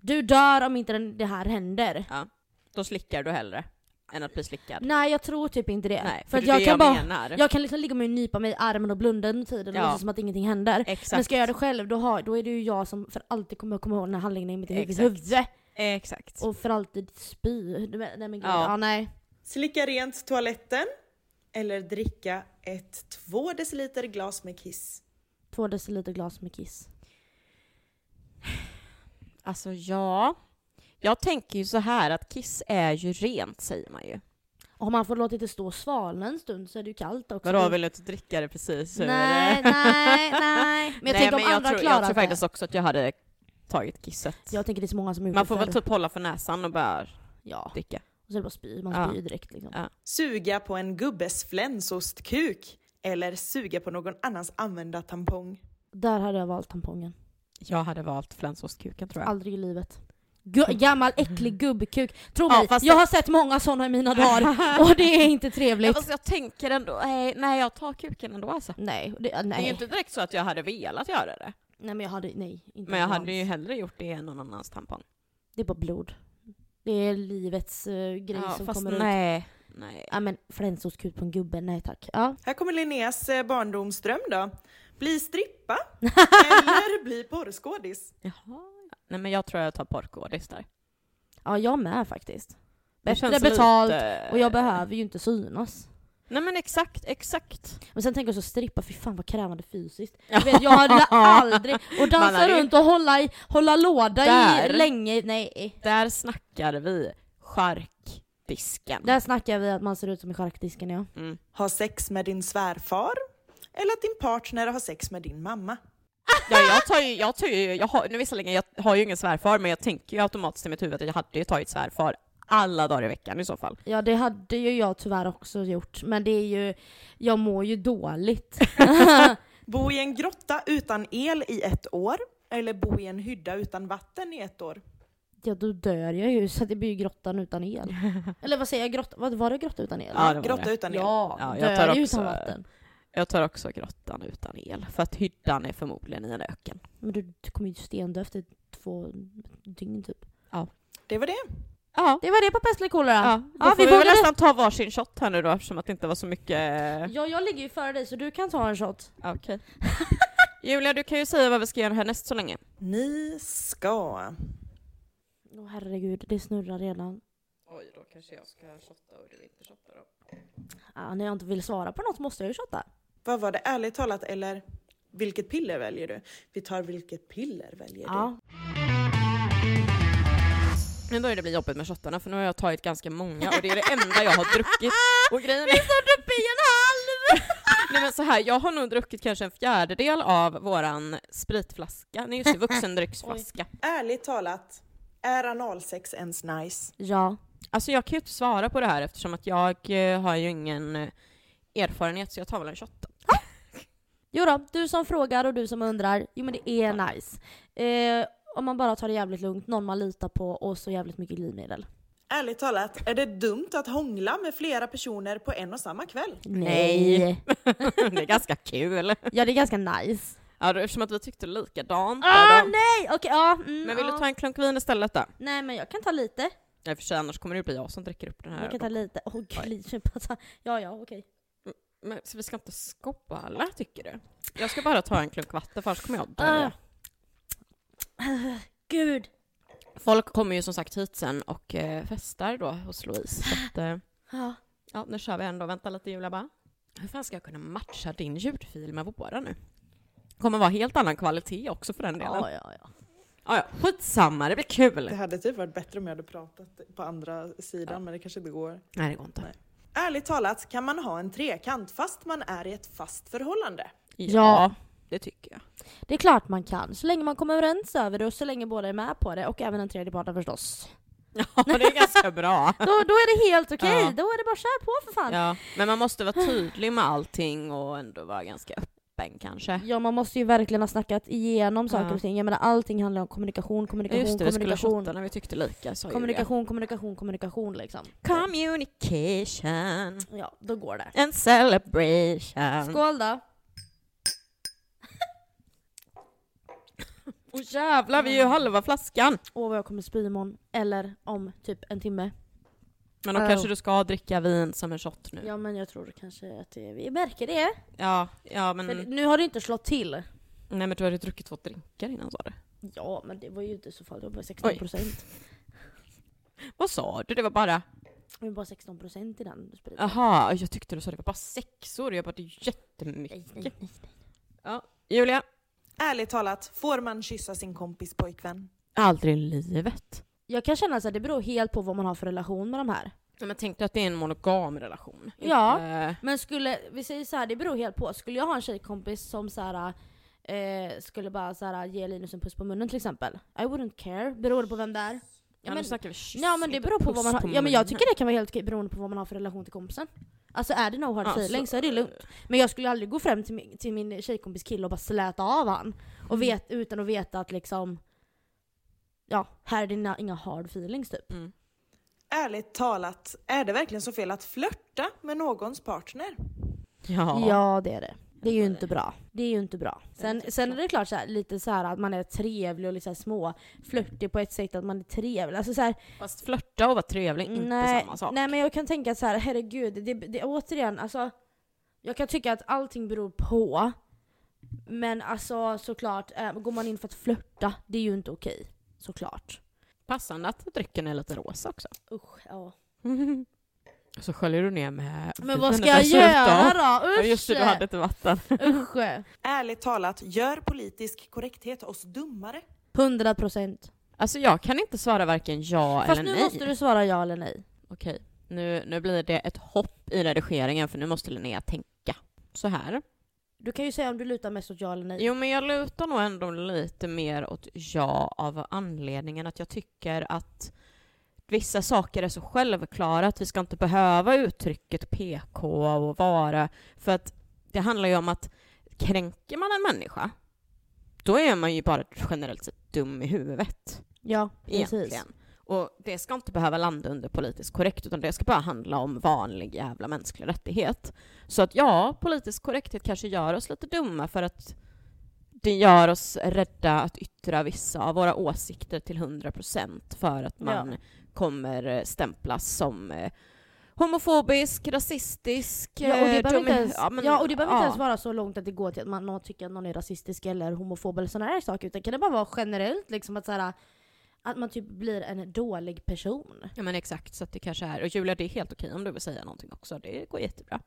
Speaker 2: Du dör om inte den, det här händer.
Speaker 1: Då slickar du hellre än att bli slickad.
Speaker 2: Nej jag tror typ inte det.
Speaker 1: Nej, för,
Speaker 2: för att
Speaker 1: det är
Speaker 2: jag
Speaker 1: det
Speaker 2: kan
Speaker 1: jag
Speaker 2: bara,
Speaker 1: menar.
Speaker 2: jag kan liksom ligga med och nypa mig i armen och blunda under tiden och
Speaker 1: Ja.
Speaker 2: låtsas som att ingenting händer.
Speaker 1: Exakt.
Speaker 2: Men ska jag göra det själv då, har, då är det ju jag som för alltid kommer att komma ihåg den här handlingen i mitt eget
Speaker 1: Exakt.
Speaker 2: huvud.
Speaker 1: Exakt.
Speaker 2: Och för alltid spy. Du men- Nej men gud,
Speaker 1: Ja.
Speaker 2: ja. nej.
Speaker 4: Slicka rent toaletten eller dricka ett 2 deciliter glas med kiss.
Speaker 2: Två deciliter glas med kiss.
Speaker 1: Alltså ja. Jag tänker ju så här att kiss är ju rent säger man ju.
Speaker 2: Om man får låta det stå och svalna en stund så är det ju kallt också.
Speaker 1: Vadå, vill du inte dricka det precis?
Speaker 2: nej, Mm. nej, nej. Men jag
Speaker 1: Nej,
Speaker 2: tänker
Speaker 1: men
Speaker 2: om andra
Speaker 1: jag tror,
Speaker 2: klarar
Speaker 1: jag tror
Speaker 2: det.
Speaker 1: faktiskt också att jag hade tagit kisset.
Speaker 2: Jag tänker det är så många som har gjort
Speaker 1: Man får
Speaker 2: det
Speaker 1: väl
Speaker 2: förr.
Speaker 1: typ hålla för näsan och bara
Speaker 2: Ja,
Speaker 1: dricka.
Speaker 2: och så är det bara spy. Man
Speaker 1: Ja.
Speaker 2: spyr ju direkt liksom.
Speaker 1: Ja.
Speaker 4: Suga på en gubbes flänsostkuk eller suga på någon annans använda tampong.
Speaker 2: Där hade jag valt tampongen.
Speaker 1: Jag hade valt flänsåskuken tror jag.
Speaker 2: Aldrig i livet. Gu- gammal äcklig gubbkuk. Tro
Speaker 1: Mm. Ja,
Speaker 2: mig,
Speaker 1: fast
Speaker 2: jag
Speaker 1: det-
Speaker 2: har sett många sådana i mina dagar och det är inte trevligt.
Speaker 1: Fast Alltså, jag tänker ändå, nej, nej jag tar kuken ändå alltså.
Speaker 2: Nej, det,
Speaker 1: Det är ju
Speaker 2: nej.
Speaker 1: inte direkt så att jag hade velat göra det.
Speaker 2: nej men jag hade, nej. Inte
Speaker 1: Men jag
Speaker 2: alls.
Speaker 1: hade ju hellre gjort det än någon annans tampong.
Speaker 2: Det är bara blod. Det är livets eh, grej som kommer ut.
Speaker 1: nej. nej.
Speaker 2: Ja men flänsoskut på en gubbe, nej tack. Ja.
Speaker 4: Här kommer Linneas eh, barndomsdröm då. Bli strippa eller bli porrskådis.
Speaker 1: Jaha. Nej men jag tror jag tar porrgodis där.
Speaker 2: ja, jag med faktiskt.
Speaker 1: Det
Speaker 2: Bättre
Speaker 1: känns
Speaker 2: betalt
Speaker 1: lite-
Speaker 2: och jag behöver ju inte synas.
Speaker 1: Nej men exakt, exakt.
Speaker 2: Men sen tänker jag så strippa, fy fan vad krävande fysiskt. Du vet, jag hade aldrig... Och
Speaker 1: Man
Speaker 2: dansa
Speaker 1: hade ju-
Speaker 2: runt och hålla, i, hålla låda
Speaker 1: Där.
Speaker 2: i länge, nej.
Speaker 1: Där snackar vi charkdisken.
Speaker 2: Där snackar vi att man ser ut som i charkdisken ja.
Speaker 1: Mm.
Speaker 4: Ha sex med din svärfar eller att din partner har sex med din mamma.
Speaker 1: Ja, jag tar ju, jag tar ju, jag har, nu visserligen, jag har ju ingen svärfar men jag tänker ju automatiskt i mitt huvud att jag hade ju tagit svärfar alla dagar i veckan i så fall.
Speaker 2: Ja det hade ju jag tyvärr också gjort, men det är ju... Jag mår ju dåligt.
Speaker 4: Bo i en grotta utan el i ett år eller bo i en hydda utan vatten i ett år.
Speaker 2: Ja då dör jag ju, så det blir ju grottan utan el. Eller vad säger jag, grotta, vad var det grotta utan el?
Speaker 1: Ja, det var
Speaker 4: grotta
Speaker 1: det.
Speaker 4: utan el.
Speaker 2: ja,
Speaker 1: Ja, jag
Speaker 2: dör
Speaker 1: tar
Speaker 2: ju
Speaker 1: också-
Speaker 2: utan vatten.
Speaker 1: Jag tar också grottan utan el, för att hyddan är förmodligen i en öken.
Speaker 2: Men du, du kommer ju stendö efter två dygn typ.
Speaker 4: Det var det.
Speaker 1: Ja,
Speaker 2: Det var det på pest eller kolera.
Speaker 1: ja, då
Speaker 2: Ja,
Speaker 1: får vi,
Speaker 2: vi
Speaker 1: väl
Speaker 2: borde-
Speaker 1: nästan ta varsin shot här nu då eftersom att det inte var så mycket...
Speaker 2: Ja, jag ligger ju före dig så du kan ta en shot.
Speaker 1: Ja, Okej. Julia, du kan ju säga vad vi ska göra härnäst så länge.
Speaker 4: Ni ska
Speaker 2: Åh herregud, det snurrar redan.
Speaker 1: Oj, då kanske jag ska shotta och du inte shotta då.
Speaker 2: Ja, Ah, när jag inte vill svara på något måste jag ju shotta.
Speaker 4: Vad var det, ärligt talat eller vilket piller väljer du? Vi tar vilket piller väljer du?
Speaker 2: Ja.
Speaker 1: Nu börjar det bli jobbigt med shottarna för nu har jag tagit ganska många och det är det enda jag har druckit. Och grejen är...
Speaker 2: uppe i en halv!
Speaker 1: Nej men så här, jag har nog druckit kanske en fjärdedel av våran spritflaska. Nej just det, vuxendrycksflaska.
Speaker 4: Ärligt talat, är analsex ens nice?
Speaker 2: Ja.
Speaker 1: Alltså jag kan ju inte svara på det här eftersom att jag eh, har ju ingen eh, erfarenhet så jag tar väl en shot.
Speaker 2: Jo då, du som frågar och du som undrar. Jo men det är nice. Eh, om man bara tar det jävligt lugnt, någon man litar på och så jävligt mycket glidmedel.
Speaker 4: Ärligt talat, är det dumt att hångla med flera personer på en och samma kväll?
Speaker 1: Nej. det är ganska kul.
Speaker 2: ja det är ganska nice.
Speaker 1: Ja, då- eftersom att vi tyckte likadant.
Speaker 2: Ah
Speaker 1: där då.
Speaker 2: nej! Okej, ja. Mm,
Speaker 1: men vill
Speaker 2: ja.
Speaker 1: du ta en klunk vin istället då?
Speaker 2: Nej men jag kan ta lite.
Speaker 1: Nej för sig, annars kommer det ju bli jag som dricker upp den här.
Speaker 2: Jag kan ta lite. Åh
Speaker 1: Oj.
Speaker 2: gud, jag bara tar- Ja ja, okej.
Speaker 1: Men, så vi ska inte skåla, tycker du? Jag ska bara ta en klunk vatten, för annars kommer jag att
Speaker 2: Ah.
Speaker 1: dö.
Speaker 2: Gud.
Speaker 1: Folk kommer ju som sagt hit sen och eh, festar då hos Louise. Så att, eh,
Speaker 2: Ja.
Speaker 1: ja, nu kör vi ändå. Vänta lite, Julia bara. Hur fan ska jag kunna matcha din ljudfil med våra nu? kommer vara helt annan kvalitet också för den delen. Ja,
Speaker 2: Ja, ja, ja.
Speaker 1: ja, skitsamma, det blir
Speaker 4: Det
Speaker 1: kul.
Speaker 4: hade typ varit bättre om jag hade pratat på andra sidan,
Speaker 1: Ja.
Speaker 4: men det kanske inte går.
Speaker 1: Nej, det går inte.
Speaker 4: Ärligt talat kan man ha en trekant fast man är i ett fast förhållande.
Speaker 2: Ja.
Speaker 1: det tycker jag.
Speaker 2: Det är klart man kan. Så länge man kommer överens över det och så länge båda är med på det och även den tredje parten förstås.
Speaker 1: Ja, det är ganska bra.
Speaker 2: Då, då är det helt okej.
Speaker 1: Ja.
Speaker 2: Då är det bara kör på för fan. Ja.
Speaker 1: Ja, men man måste vara tydlig med allting och ändå vara ganska öppen kanske.
Speaker 2: man måste ju verkligen ha snackat igenom saker
Speaker 1: Ja.
Speaker 2: och ting. Jag menar allting handlar om kommunikation, kommunikation,
Speaker 1: Just det, vi skulle
Speaker 2: Liksom kommunikation.
Speaker 1: shotta när vi tyckte lika sa Julia.
Speaker 2: Kommunikation, kommunikation, kommunikation liksom.
Speaker 1: Communication
Speaker 2: Ja, då går det.
Speaker 1: and celebration.
Speaker 2: Skål då!
Speaker 1: Och jävlar, vi är ju
Speaker 2: Mm.
Speaker 1: halva flaskan!
Speaker 2: Åh vad jag kommer spy imorgon. Eller om typ en timme.
Speaker 1: Men då
Speaker 2: Oh.
Speaker 1: kanske du ska dricka vin som en shot nu.
Speaker 2: Ja men jag tror kanske att det, vi märker det.
Speaker 1: Ja, ja men,
Speaker 2: För nu har det inte slått till.
Speaker 1: nej, men du hade druckit två drinkar innan sa du.
Speaker 2: Ja men det var ju inte så farligt, det var bara 16
Speaker 1: Oj.
Speaker 2: procent.
Speaker 1: Vad sa du? Det var bara...
Speaker 2: Det var bara 16 procent i den spriten.
Speaker 1: Aha, jag tyckte du sa det var bara sexor. Jag bara, det är
Speaker 2: Nej,
Speaker 1: jättemycket.
Speaker 2: nej, nej.
Speaker 1: Julia?
Speaker 4: Ärligt talat, får man kyssa sin kompis pojkvän?
Speaker 1: Aldrig i livet.
Speaker 2: Jag kan känna att det beror helt på vad man har för relation med de här.
Speaker 1: Ja, men tänkte att det är en monogam relation?
Speaker 2: Ja.
Speaker 1: Inte-
Speaker 2: Men skulle, vi säger så här, det beror helt på. Skulle jag ha en tjejkompis som så här, eh, skulle bara så här, ge Linus en puss på munnen till exempel. I wouldn't care, beror det på vem det är.
Speaker 1: Ja,
Speaker 2: Ja, men,
Speaker 1: nu snackar vi kyss,
Speaker 2: ja, men det
Speaker 1: inte
Speaker 2: beror på
Speaker 1: puss
Speaker 2: vad man har, ja, men jag
Speaker 1: munnen.
Speaker 2: tycker det kan vara helt okej beroende på vad man har för relation till kompisen. Alltså är det no hard
Speaker 1: Alltså,
Speaker 2: feeling så är det lugnt. Men jag skulle aldrig gå fram till min, till min tjejkompis kille och bara släta av han. Och vet, utan att veta att liksom, ja, här är det inga, inga hard feelings typ.
Speaker 1: Mm.
Speaker 4: Ärligt talat, är det verkligen så fel att flörta med någons partner?
Speaker 1: Ja.
Speaker 2: Ja det är det. Det är ju inte bra. Det är ju inte bra. Sen,
Speaker 1: inte
Speaker 2: sen
Speaker 1: bra.
Speaker 2: är det klart så här, lite så här att man är trevlig och lite så här små flörtig på ett sätt att man är trevlig. Alltså så här,
Speaker 1: Fast flörta och vara trevlig, inte
Speaker 2: nej,
Speaker 1: samma sak.
Speaker 2: nej men jag kan tänka så här, herregud, det, det återigen alltså. Jag kan tycka att allting beror på. Men alltså såklart, eh, går man in för att flörta, det är ju inte okej. Såklart.
Speaker 1: Passande att drycken är lite rosa också.
Speaker 2: Usch, ja.
Speaker 1: Så sköljer du ner med
Speaker 2: Men vad ska
Speaker 1: vinet
Speaker 2: jag göra
Speaker 1: dessutom.
Speaker 2: då?
Speaker 1: Typ
Speaker 2: Usch!
Speaker 1: Ja, just det, du hade inte vatten.
Speaker 2: Usch!
Speaker 4: Ärligt talat, gör politisk korrekthet oss dummare?
Speaker 2: 100 procent.
Speaker 1: Alltså jag kan inte svara varken ja
Speaker 2: Fast
Speaker 1: eller
Speaker 2: nu
Speaker 1: nej.
Speaker 2: måste du svara ja eller nej.
Speaker 1: Okej, nu, nu blir det ett hopp i redigeringen för nu måste Linnea tänka. Så här.
Speaker 2: Du kan ju säga om du lutar mest åt ja eller nej.
Speaker 1: Jo men jag lutar nog ändå lite mer åt ja av anledningen att jag tycker att vissa saker är så självklara att vi ska inte behöva uttrycket PK och vara för att det handlar ju om att kränker man en människa då är man ju bara generellt sett dum i huvudet.
Speaker 2: Ja, precis.
Speaker 1: egentligen. Och det ska inte behöva landa under politiskt korrekt utan det ska bara handla om vanlig jävla mänsklig rättighet. Så att ja, politisk korrekthet kanske gör oss lite dumma för att det gör oss rädda att yttra vissa av våra åsikter till 100% för att man
Speaker 2: Ja.
Speaker 1: kommer eh, stämplas som eh, homofobisk, rasistisk,
Speaker 2: Ja och
Speaker 1: eh,
Speaker 2: det behöver,
Speaker 1: dum
Speaker 2: inte
Speaker 1: i-
Speaker 2: ens, ja,
Speaker 1: men-
Speaker 2: och det behöver
Speaker 1: ja.
Speaker 2: inte ens vara så långt att det går till att man någon tycker att någon är rasistisk eller homofob eller sådana här saker. Utan kan det bara vara generellt liksom att, så här, att man typ blir en dålig person.
Speaker 1: Ja men exakt, så att det kanske är... Och Julia, det är helt okej om du vill säga någonting också. Det går jättebra.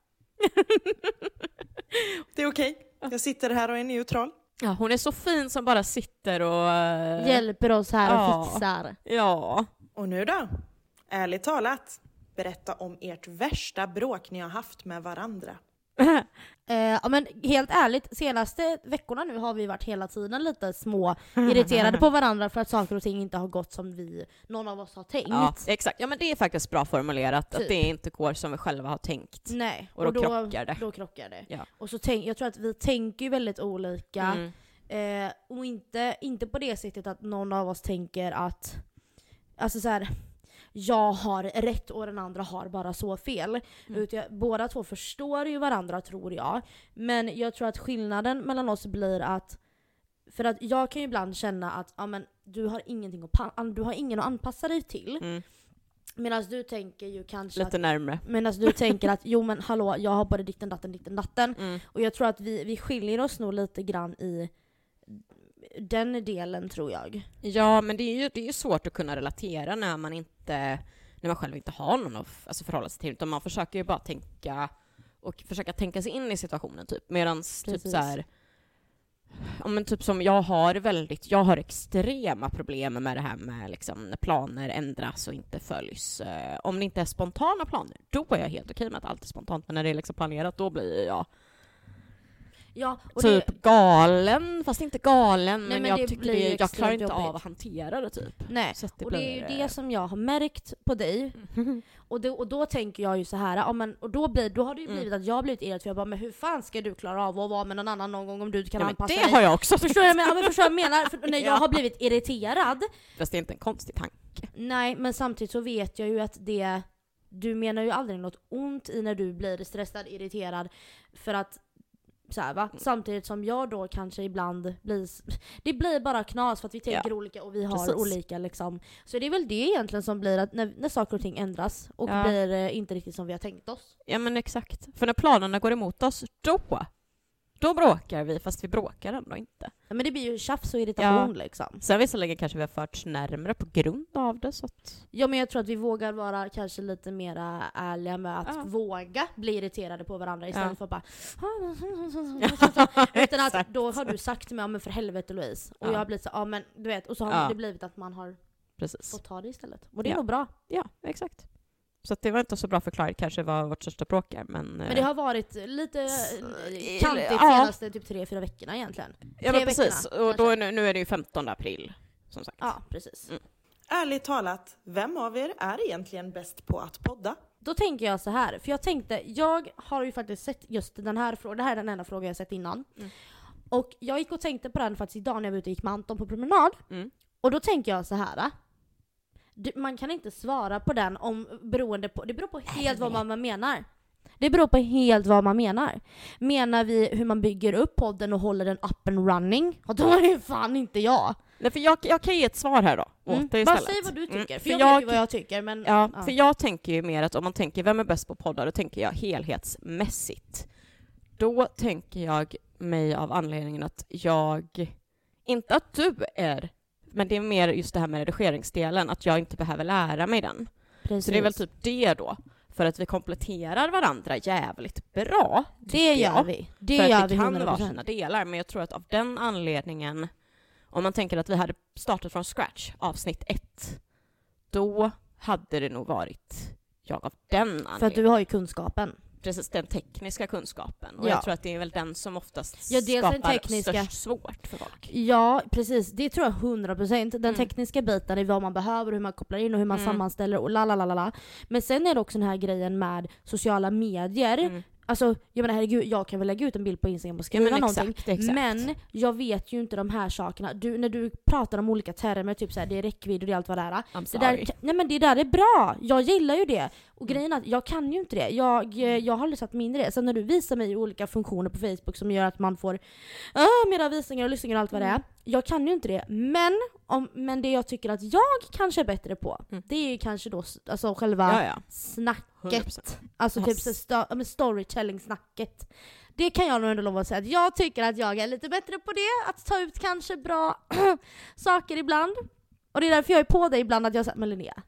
Speaker 4: Det är okej, jag sitter här och är neutral.
Speaker 1: Ja, hon är så fin som bara sitter och... eh,
Speaker 2: Hjälper oss här
Speaker 1: ja.
Speaker 2: och fixar.
Speaker 1: Ja.
Speaker 4: Och nu då? Ärligt talat, berätta om ert värsta bråk ni har haft med varandra.
Speaker 2: Eh, ja men helt ärligt, senaste veckorna nu har vi varit hela tiden lite små irriterade på varandra för att saker och ting inte har gått som vi, någon av oss har tänkt.
Speaker 1: ja, exakt. Ja men det är faktiskt bra formulerat, att
Speaker 2: Typ.
Speaker 1: det inte går som vi själva har tänkt.
Speaker 2: Nej.
Speaker 1: Och då krockar det.
Speaker 2: Då krockar det.
Speaker 1: Ja.
Speaker 2: Och så tänk, jag tror att vi tänker ju väldigt olika.
Speaker 1: Mm.
Speaker 2: Eh, och inte, inte på det sättet att någon av oss tänker att alltså så här, jag har rätt och den andra har bara så fel.
Speaker 1: Mm.
Speaker 2: Utan jag, båda två förstår ju varandra tror jag. Men jag tror att skillnaden mellan oss blir att för att jag kan ju ibland känna att ja, men, du, har ingenting att, pa- an- du har ingen att anpassa dig till.
Speaker 1: Mm.
Speaker 2: Medan du tänker ju kanske att
Speaker 1: Lite närmre.
Speaker 2: Medan du tänker att jo men hallå jag har både ditten datten ditten datten.
Speaker 1: Mm.
Speaker 2: Och jag tror att vi, vi skiljer oss nog lite grann i den delen tror jag.
Speaker 1: Ja, men det är, ju, det är ju svårt att kunna relatera när man inte, när man själv inte har någon att f- alltså förhålla sig till, utan man försöker ju bara tänka och försöka tänka sig in i situationen typ. Medan typ
Speaker 2: Precis.
Speaker 1: så här, ja men typ som jag har väldigt, jag har extrema problem med det här med liksom när planer ändras och inte följs. Eh, Om det inte är spontana planer, då är jag helt okej med att allt är spontant, men när det är liksom planerat, då blir jag
Speaker 2: Ja, och
Speaker 1: typ
Speaker 2: det,
Speaker 1: galen, fast inte galen, men,
Speaker 2: Nej, men det
Speaker 1: jag tycker
Speaker 2: blir ju
Speaker 1: det, jag klarar
Speaker 2: extremt
Speaker 1: inte av
Speaker 2: jobbigt.
Speaker 1: att hantera det Mm. typ.
Speaker 2: nej.
Speaker 1: Så att
Speaker 2: Och det är ju det som jag har märkt på dig. Och, det, och då tänker jag ju så här, ja, men, och då, blir, då har det ju
Speaker 1: Mm.
Speaker 2: blivit att jag har blivit irriterad för jag bara men hur fan ska du klara av att vara med någon annan någon gång om du inte kan
Speaker 1: ja, men
Speaker 2: anpassa
Speaker 1: det
Speaker 2: dig?
Speaker 1: har jag också.
Speaker 2: Förstår jag, men, ja, men förstår jag menar? För när jag
Speaker 1: Ja.
Speaker 2: har blivit irriterad,
Speaker 1: Fast det är inte en konstig tanke.
Speaker 2: nej men samtidigt så vet jag ju att det, du menar ju aldrig något ont i när du blir stressad, irriterad. För att så här, va? Samtidigt som jag då kanske ibland blir, s- det blir bara knas för att vi tänker olika och vi har
Speaker 1: Precis.
Speaker 2: olika liksom. Så det är väl det egentligen som blir att när, när saker och ting ändras och
Speaker 1: Ja.
Speaker 2: blir eh, inte riktigt som vi har tänkt oss.
Speaker 1: Ja men exakt. För när planerna går emot oss, då, då bråkar vi fast vi bråkar ändå inte.
Speaker 2: Ja, Men det blir ju tjafs och irritation liksom.
Speaker 1: Sen visserligen kanske vi har förts närmre på grund av det så att...
Speaker 2: Ja men jag tror att vi vågar vara kanske lite mera ärliga med att
Speaker 1: Ja.
Speaker 2: våga bli irriterade på varandra istället
Speaker 1: Ja.
Speaker 2: för att bara Utan att då har du sagt till mig, ja men för helvete Louise. Och
Speaker 1: Ja.
Speaker 2: jag har blivit så, ja men du vet. Och så har
Speaker 1: Ja.
Speaker 2: det blivit att man har
Speaker 1: Precis.
Speaker 2: fått ta det istället. Och det är
Speaker 1: Ja.
Speaker 2: nog bra.
Speaker 1: Ja, exakt. Så att det var inte så bra förklarat kanske vad vårt största bråk är men... eh,
Speaker 2: Men det har varit lite
Speaker 1: S-
Speaker 2: eh,
Speaker 1: i-
Speaker 2: kantigt
Speaker 1: ja.
Speaker 2: senaste typ 3-4 veckorna egentligen.
Speaker 1: ja men
Speaker 2: tre
Speaker 1: precis.
Speaker 2: veckorna,
Speaker 1: Och då är nu, nu är det ju 15 april. Som sagt.
Speaker 2: Ja precis.
Speaker 1: Mm.
Speaker 4: Ärligt talat, vem av er är egentligen bäst på att podda?
Speaker 2: Då tänker jag så här, för jag tänkte, jag har ju faktiskt sett just den här frågan, det här är den enda frågan jag sett innan.
Speaker 1: Mm.
Speaker 2: Och jag gick och tänkte på den faktiskt idag när jag var ute och gick med Anton på promenad.
Speaker 1: Mm.
Speaker 2: Och då tänker jag så här. Du, man kan inte svara på den om, beroende på, det beror på helt vad man, man menar. Det beror på helt vad man menar. Menar vi hur man bygger upp podden och håller den up and running? Och då är det ju fan inte jag. Mm.
Speaker 1: Nej för jag, jag kan ge ett svar här då, åt dig
Speaker 2: Bara
Speaker 1: istället.
Speaker 2: säg vad du tycker,
Speaker 1: Mm,
Speaker 2: för, jag, vet ju vad jag tycker men...
Speaker 1: Ja, för jag tänker ju mer att om man tänker vem är bäst på poddar, då tänker jag helhetsmässigt. Då tänker jag mig av anledningen att jag, inte att du är, men det är mer just det här med redigeringsdelen, att jag inte behöver lära mig den.
Speaker 2: Precis.
Speaker 1: Så det är väl typ det då, för att vi kompletterar varandra jävligt bra.
Speaker 2: Det
Speaker 1: tycker
Speaker 2: gör
Speaker 1: jag.
Speaker 2: vi. Det
Speaker 1: för
Speaker 2: gör
Speaker 1: att det
Speaker 2: vi
Speaker 1: kan
Speaker 2: 100%.
Speaker 1: vara sina delar, men jag tror att av den anledningen, om man tänker att vi hade startat från scratch, avsnitt ett, då hade det nog varit jag av den anledningen.
Speaker 2: För att du har ju kunskapen.
Speaker 1: Precis, den tekniska kunskapen. Och
Speaker 2: Ja.
Speaker 1: jag tror att det är väl den som oftast
Speaker 2: Ja, dels den
Speaker 1: skapar
Speaker 2: tekniska.
Speaker 1: störst svårt för folk.
Speaker 2: Ja, precis. Det tror jag 100%. Den
Speaker 1: Mm.
Speaker 2: tekniska biten är vad man behöver, hur man kopplar in och hur man
Speaker 1: Mm.
Speaker 2: sammanställer och la la la la la. Men sen är det också den här grejen med sociala medier.
Speaker 1: Mm.
Speaker 2: Alltså, jag menar herregud, jag kan väl lägga ut en bild på Instagram och
Speaker 1: Ja,
Speaker 2: skriva
Speaker 1: men
Speaker 2: någonting.
Speaker 1: exakt, exakt.
Speaker 2: Men jag vet ju inte de här sakerna. Du, när du pratar om olika termer, typ så här, det är räckvidd och det är allt vad det är.
Speaker 1: I'm
Speaker 2: Det
Speaker 1: sorry.
Speaker 2: där, nej men det där är bra, jag gillar ju det. Och
Speaker 1: Mm.
Speaker 2: grejen är att jag kan ju inte det. Jag, eh, jag har aldrig satt mig in i det. Sen när du visar mig olika funktioner på Facebook som gör att man får ah, mera visningar och lyssningar och allt vad
Speaker 1: Mm.
Speaker 2: det är. Jag kan ju inte det. Men, om, men det jag tycker att jag kanske är bättre på,
Speaker 1: Mm.
Speaker 2: det är ju kanske då s- alltså själva
Speaker 1: ja, ja.
Speaker 2: snacket.
Speaker 1: 100%.
Speaker 2: Alltså
Speaker 1: Ja,
Speaker 2: typ så sto- ja, men storytelling-snacket. Det kan jag nog ändå lova att säga att jag tycker att jag är lite bättre på det. Att ta ut kanske bra saker ibland. Och det är därför jag är på dig ibland att jag säger men Linnea,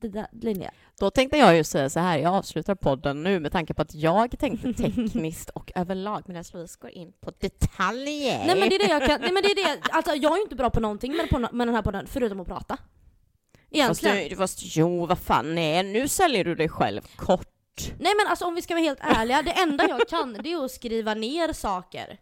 Speaker 2: det där, Linnea.
Speaker 1: Då tänkte jag ju säga så här, jag avslutar podden nu med tanke på att jag tänkte tekniskt och överlag medan Louise går in på detaljer.
Speaker 2: Nej men det är det jag kan, nej men det är det, alltså jag är ju inte bra på någonting med, på, no- med den här podden förutom att prata.
Speaker 1: Fast,
Speaker 2: Egentligen.
Speaker 1: du, fast jo, vad fan, nej, nu säljer du dig själv kort.
Speaker 2: Nej men alltså om vi ska vara helt ärliga, det enda jag kan det är att skriva ner saker.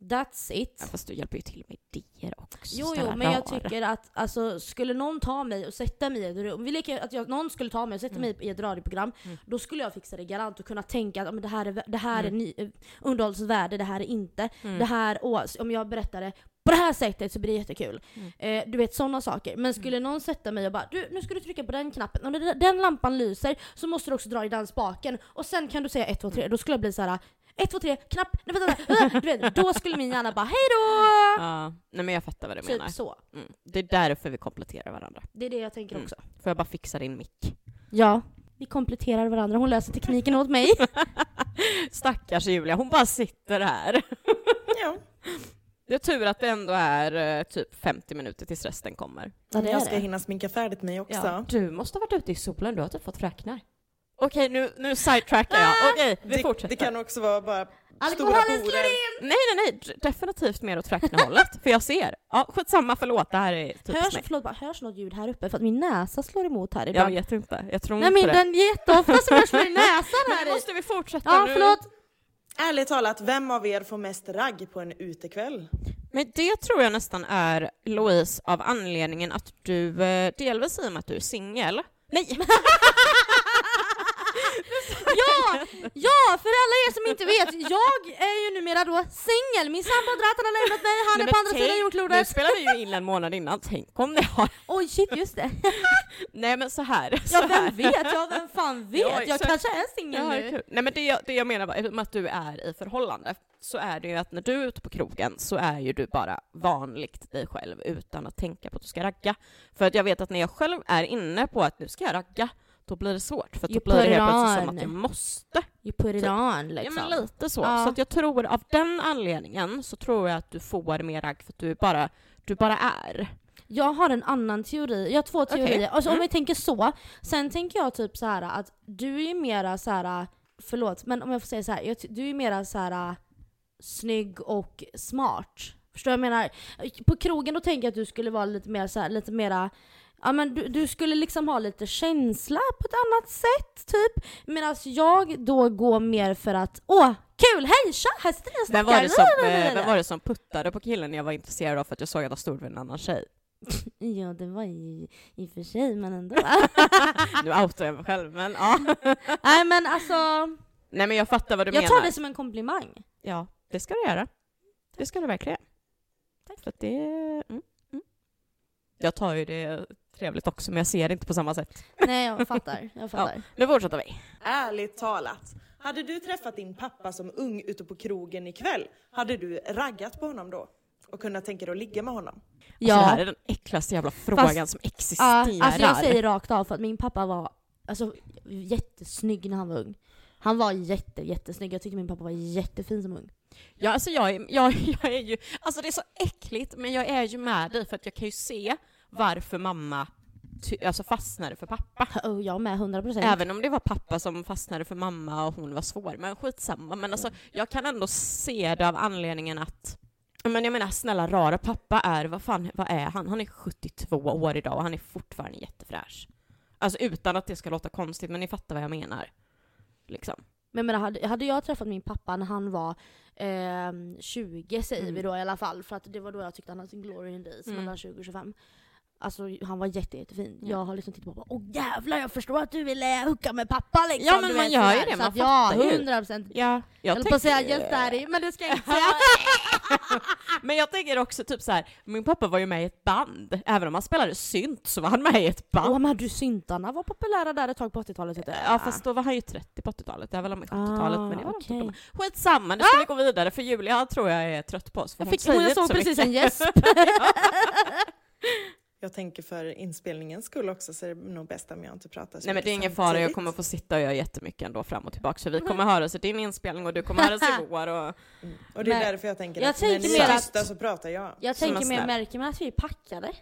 Speaker 2: That's it.
Speaker 1: Ja, fast du hjälper ju till med idéer också.
Speaker 2: Jo, jo,
Speaker 1: snälla
Speaker 2: men jag
Speaker 1: rara.
Speaker 2: tycker att alltså, skulle någon ta mig och sätta mig i ett rum, vi leker att jag, någon skulle ta mig och sätta
Speaker 1: Mm.
Speaker 2: mig i ett radioprogram, då skulle jag fixa det garant och kunna tänka att "Ja, men det här är, vä- det här
Speaker 1: Mm.
Speaker 2: är ny, eh, underhållsvärde, det här är inte. Det här, åh, s- om jag berättar det på det här sättet så blir det jättekul.
Speaker 1: Mm.
Speaker 2: Eh, du vet sådana saker. Men skulle någon sätta mig och bara du, nu ska du trycka på den knappen, och
Speaker 1: Mm.
Speaker 2: när den- den lampan lyser så måste du också dra i den spaken och sen kan du säga ett, två, tre. Då skulle jag bli så här. ett, två, tre, knapp, nej vänta, vänta, du vet, då skulle min hjärna bara hej då!
Speaker 1: Ja, nej men jag fattar vad du menar.
Speaker 2: Typ så.
Speaker 1: Mm. Det är därför vi kompletterar varandra.
Speaker 2: Det är det jag tänker
Speaker 1: Mm.
Speaker 2: också.
Speaker 1: Får jag bara fixa din mick?
Speaker 2: Ja. Vi kompletterar varandra, hon löser tekniken åt mig.
Speaker 1: Stackars Julia, hon bara sitter här.
Speaker 4: Ja.
Speaker 1: Det är tur att det ändå är eh, typ 50 minuter tills resten kommer.
Speaker 2: Ja, det är
Speaker 4: jag ska
Speaker 2: det.
Speaker 4: hinna sminka färdigt mig också.
Speaker 1: Du måste ha varit ute i solen, du har typ fått fräknar. Okej, nu, nu sidetrackar jag. Okej, vi
Speaker 4: det,
Speaker 1: fortsätter.
Speaker 4: det kan också vara bara
Speaker 2: Alkoholen
Speaker 4: porer.
Speaker 2: slår in!
Speaker 1: Nej, nej, nej, d- definitivt mer åt fräknehållet, för jag ser. Ja, skitsamma, förlåt, det här är typiskt
Speaker 2: Hörs,
Speaker 1: mig.
Speaker 2: förlåt, bara, hörs något ljud här uppe? För att min näsa slår emot här
Speaker 1: Jag
Speaker 2: ibland.
Speaker 1: vet inte, jag tror
Speaker 2: Nej
Speaker 1: inte
Speaker 2: men
Speaker 1: det.
Speaker 2: den jätteofta så hörs min näsan
Speaker 1: Men nu
Speaker 2: här i.
Speaker 1: måste vi fortsätta
Speaker 2: Ja
Speaker 1: nu.
Speaker 2: förlåt.
Speaker 4: Ärligt talat, vem av er får mest ragg på en utekväll?
Speaker 1: Men det tror jag nästan är Louise av anledningen att du, eh, delvis i och med att du är singel. Nej!
Speaker 2: Ja, ja, för alla er som inte vet, jag är ju numera då singel. Min sambo Dratan har lämnat mig, han
Speaker 1: Nej,
Speaker 2: är
Speaker 1: men
Speaker 2: på andra sidan
Speaker 1: tänk- Nu
Speaker 2: jordklotet.
Speaker 1: spelar vi ju in en månad innan, tänk om det har...
Speaker 2: Oj shit, just det.
Speaker 1: Nej men så här. Så
Speaker 2: Ja
Speaker 1: här.
Speaker 2: vem vet, ja vem fan vet.
Speaker 1: Ja,
Speaker 2: Jag,
Speaker 1: exakt.
Speaker 2: kanske är singel
Speaker 1: Ja,
Speaker 2: nu.
Speaker 1: kul. Nej men det jag, det jag menar var, i och med att du är i förhållande, så är det ju att när du är ute på krogen så är ju du bara vanligt dig själv utan att tänka på att du ska ragga. För att jag vet att när jag själv är inne på att nu ska jag ragga, då blir det svårt för att då
Speaker 2: You
Speaker 1: blir det
Speaker 2: put it
Speaker 1: helt plötsligt som
Speaker 2: on.
Speaker 1: att jag måste.
Speaker 2: You put it
Speaker 1: Typ.
Speaker 2: on
Speaker 1: Ja
Speaker 2: liksom.
Speaker 1: men lite så.
Speaker 2: Ja.
Speaker 1: Så att jag tror av den anledningen så tror jag att du får mer ragg för att du bara, du bara är.
Speaker 2: Jag har en annan teori. Jag har två
Speaker 1: Okej.
Speaker 2: teorier. Alltså, om
Speaker 1: Mm.
Speaker 2: vi tänker så. Sen tänker jag typ så här att du är ju mera så här. Förlåt, men om jag får säga så här. Jag, ty- du är ju mera så här snygg och smart. Förstår du vad jag menar? På krogen då tänker jag att du skulle vara lite mer så här, lite mera Ja men du, du skulle liksom ha lite känsla på ett annat sätt typ. Medan jag då går mer för att åh, kul, hej, tja, här sitter ni och
Speaker 1: Vem var, det som, eh,
Speaker 2: blablabla.
Speaker 1: vem var det som puttade på killen jag var intresserad av för att jag såg att han stod vid en annan tjej?
Speaker 2: Ja det var ju i och för sig men ändå.
Speaker 1: Nu outar jag mig själv men ja.
Speaker 2: Nej men alltså,
Speaker 1: Nej men jag fattar vad du
Speaker 2: jag
Speaker 1: menar.
Speaker 2: tar det som en komplimang.
Speaker 1: Ja, det ska du göra. Det ska du verkligen. Tack. För att det... Mm, mm. Jag tar ju det trevligt också men jag ser det inte på samma sätt.
Speaker 2: Nej jag fattar, jag fattar.
Speaker 1: Nu fortsätter vi. Alltså,
Speaker 4: Ärligt talat, hade du träffat din pappa som ung ute på krogen ikväll, hade du raggat på honom då? Och kunnat tänka dig att ligga med honom?
Speaker 1: Ja. Det här
Speaker 2: Ja,
Speaker 1: är den äckligaste jävla frågan som
Speaker 2: ja
Speaker 1: existerar.
Speaker 2: alltså jag säger rakt av för att min pappa var alltså, jättesnygg när han var ung. Han var jätte, jättesnygg, jag tyckte min pappa var jättefin som ung.
Speaker 1: Ja, alltså jag, är, jag, jag är ju... Alltså det är så äckligt, men jag är ju med dig för att jag kan ju se varför mamma ty, alltså fastnade för pappa.
Speaker 2: Och jag med, 100%. procent.
Speaker 1: Även om det var pappa som fastnade för mamma och hon var svår, men skitsamma. Men
Speaker 2: Mm.
Speaker 1: alltså, jag kan ändå se det av anledningen att men jag menar snälla rara, pappa är, vad fan, vad är han? Han är 72 år idag och han är fortfarande jättefräsch. Alltså utan att det ska låta konstigt, men ni fattar vad jag menar. Liksom.
Speaker 2: Men jag menar, hade, hade jag träffat min pappa när han var ehm, 20 säger
Speaker 1: Mm.
Speaker 2: vi då i alla fall, för att det var då jag tyckte han hade sin glory in days,
Speaker 1: Mm.
Speaker 2: mellan 20 och 25. Alltså han var jätte, jättefin.
Speaker 1: Ja.
Speaker 2: Jag har liksom tittat på honom och bara, åh jävlar jag förstår att du ville hooka med pappa liksom.
Speaker 1: Ja, men
Speaker 2: du
Speaker 1: man
Speaker 2: vet,
Speaker 1: gör ju
Speaker 2: sådär.
Speaker 1: det,
Speaker 2: Så
Speaker 1: man
Speaker 2: att, Ja,
Speaker 1: fattar ju.
Speaker 2: 100 procent.
Speaker 1: Ja,
Speaker 2: Jag
Speaker 1: jag,
Speaker 2: höll på att säga
Speaker 1: tänker-
Speaker 2: just daddy, men det ska jag inte säga.
Speaker 1: Men jag tänker också typ så här, min pappa var ju med i ett band. Även om han spelade synt så var han med i ett band.
Speaker 2: Åh men du syntarna var populära där ett tag på 80-talet vet jag.
Speaker 1: Ja fast då var han ju 30 på 80-talet, det här var väl om i 70-talet
Speaker 2: Ah,
Speaker 1: men det var
Speaker 2: okej. Ah!
Speaker 1: okay. Skitsamma, nu ska vi gå vidare för Julia tror jag är trött på oss för
Speaker 2: Jag,
Speaker 1: hon
Speaker 2: fick,
Speaker 1: säger
Speaker 2: jag
Speaker 1: inte
Speaker 2: såg
Speaker 1: så
Speaker 2: precis
Speaker 1: mycket.
Speaker 2: en gäsp.
Speaker 4: Jag tänker för inspelningens skull också så är det nog bäst om jag inte pratar så
Speaker 1: Nej men
Speaker 4: mycket
Speaker 1: det är ingen fara, jag
Speaker 4: samtidigt.
Speaker 1: kommer få sitta och göra jättemycket ändå fram och tillbaka så vi kommer höra sig din inspelning och du kommer höra sig vår och...
Speaker 4: Och det är
Speaker 2: Nej.
Speaker 4: därför jag tänker
Speaker 2: Jag
Speaker 4: att
Speaker 2: tänker
Speaker 4: när ni
Speaker 1: mer
Speaker 4: är
Speaker 1: att-
Speaker 4: tysta så pratar jag.
Speaker 2: Jag
Speaker 1: Som
Speaker 2: tänker
Speaker 1: en
Speaker 2: mer,
Speaker 1: snäll.
Speaker 2: märker man att vi är packade?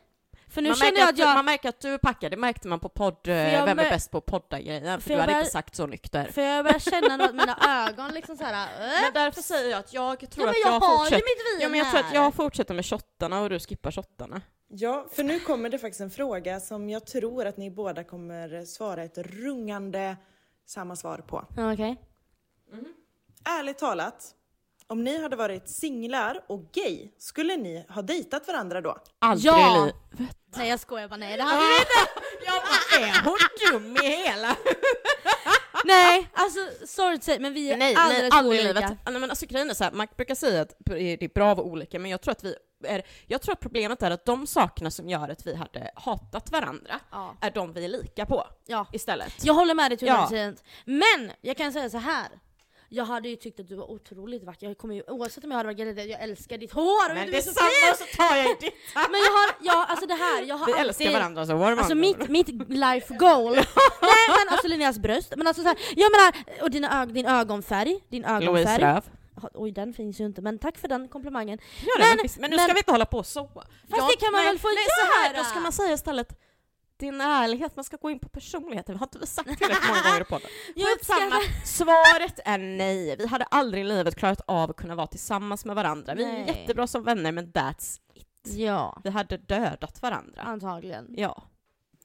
Speaker 2: För nu
Speaker 1: man,
Speaker 2: känner
Speaker 1: märker
Speaker 2: jag
Speaker 1: att
Speaker 2: att
Speaker 1: du,
Speaker 2: jag...
Speaker 1: man märker att du är packad, det märkte man på podd, eh,
Speaker 2: jag
Speaker 1: Vem är
Speaker 2: mär-
Speaker 1: bäst på att podda grejen för,
Speaker 2: För
Speaker 1: du
Speaker 2: jag
Speaker 1: hade
Speaker 2: mär-
Speaker 1: inte sagt så nykter.
Speaker 2: För jag börjar känna något, mina ögon liksom såhär... Äh.
Speaker 1: Men därför säger jag att jag tror
Speaker 2: Ja, men
Speaker 1: att
Speaker 2: jag,
Speaker 1: jag,
Speaker 2: har ju
Speaker 1: fortsätter...
Speaker 2: mitt vin
Speaker 1: Ja, men jag tror att
Speaker 2: här.
Speaker 1: jag fortsätter med shottarna och du skippar shottarna.
Speaker 4: Ja, för nu kommer det faktiskt en fråga som jag tror att ni båda kommer svara ett rungande samma svar på.
Speaker 2: Ja, okej.
Speaker 4: Ärligt talat, om ni hade varit singlar och gay, skulle ni ha dejtat varandra då?
Speaker 1: Aldrig
Speaker 2: Ja. Ah,
Speaker 1: i livet.
Speaker 2: Nej jag skojar bara, nej det hade vi inte.
Speaker 1: Jag
Speaker 2: ah,
Speaker 1: bara, är hon dum i hela
Speaker 2: Nej, alltså sorry to say, men vi är
Speaker 1: Nej, nej,
Speaker 2: alldeles
Speaker 1: aldrig i livet.
Speaker 2: olika.
Speaker 1: Ja, Nej, men alltså, grejen är så här, man brukar säga att det är bra att vara olika, men jag tror att vi är, jag tror att problemet är att de sakerna som gör att vi hade hatat varandra
Speaker 2: Ja.
Speaker 1: är de vi är lika på
Speaker 2: Ja.
Speaker 1: istället.
Speaker 2: Jag håller med dig till
Speaker 1: Ja.
Speaker 2: 100%. Men jag kan säga så här. Jag hade ju tyckt att du var otroligt vacker, jag kommer ju, oavsett om jag hade varit gravid, jag älskar ditt hår! och
Speaker 1: Men
Speaker 2: du är så
Speaker 1: detsamma så tar jag ju ditt!
Speaker 2: fin! Men jag har, jag, alltså det här, jag har
Speaker 1: Vi
Speaker 2: alltid-
Speaker 1: älskar varandra så varm
Speaker 2: Alltså mitt, mitt life goal. Nej men alltså Linneas bröst, men alltså så här, jag menar, och dina ög, din ögonfärg, din
Speaker 1: Louise
Speaker 2: ögonfärg.
Speaker 1: röv.
Speaker 2: Ha- Oj den finns ju inte men tack för den komplimangen.
Speaker 1: Ja, det,
Speaker 2: Men-
Speaker 1: men, men, nu
Speaker 2: men-
Speaker 1: ska vi inte hålla på och så. Fast
Speaker 2: det kan man väl få
Speaker 1: nej, Så här,
Speaker 2: göra?
Speaker 1: då ska man säga istället din ärlighet, man ska gå in på personligheten. Vi har inte vi sagt tillräckligt många gånger i podden.
Speaker 2: Jag
Speaker 1: Skitsamma.
Speaker 2: uppskattar,
Speaker 1: Svaret är nej. Vi hade aldrig i livet klarat av att kunna vara tillsammans med varandra. Vi
Speaker 2: Nej.
Speaker 1: är jättebra som vänner, men that's...
Speaker 2: ja
Speaker 1: Vi hade dödat varandra.
Speaker 2: antagligen.
Speaker 1: Ja.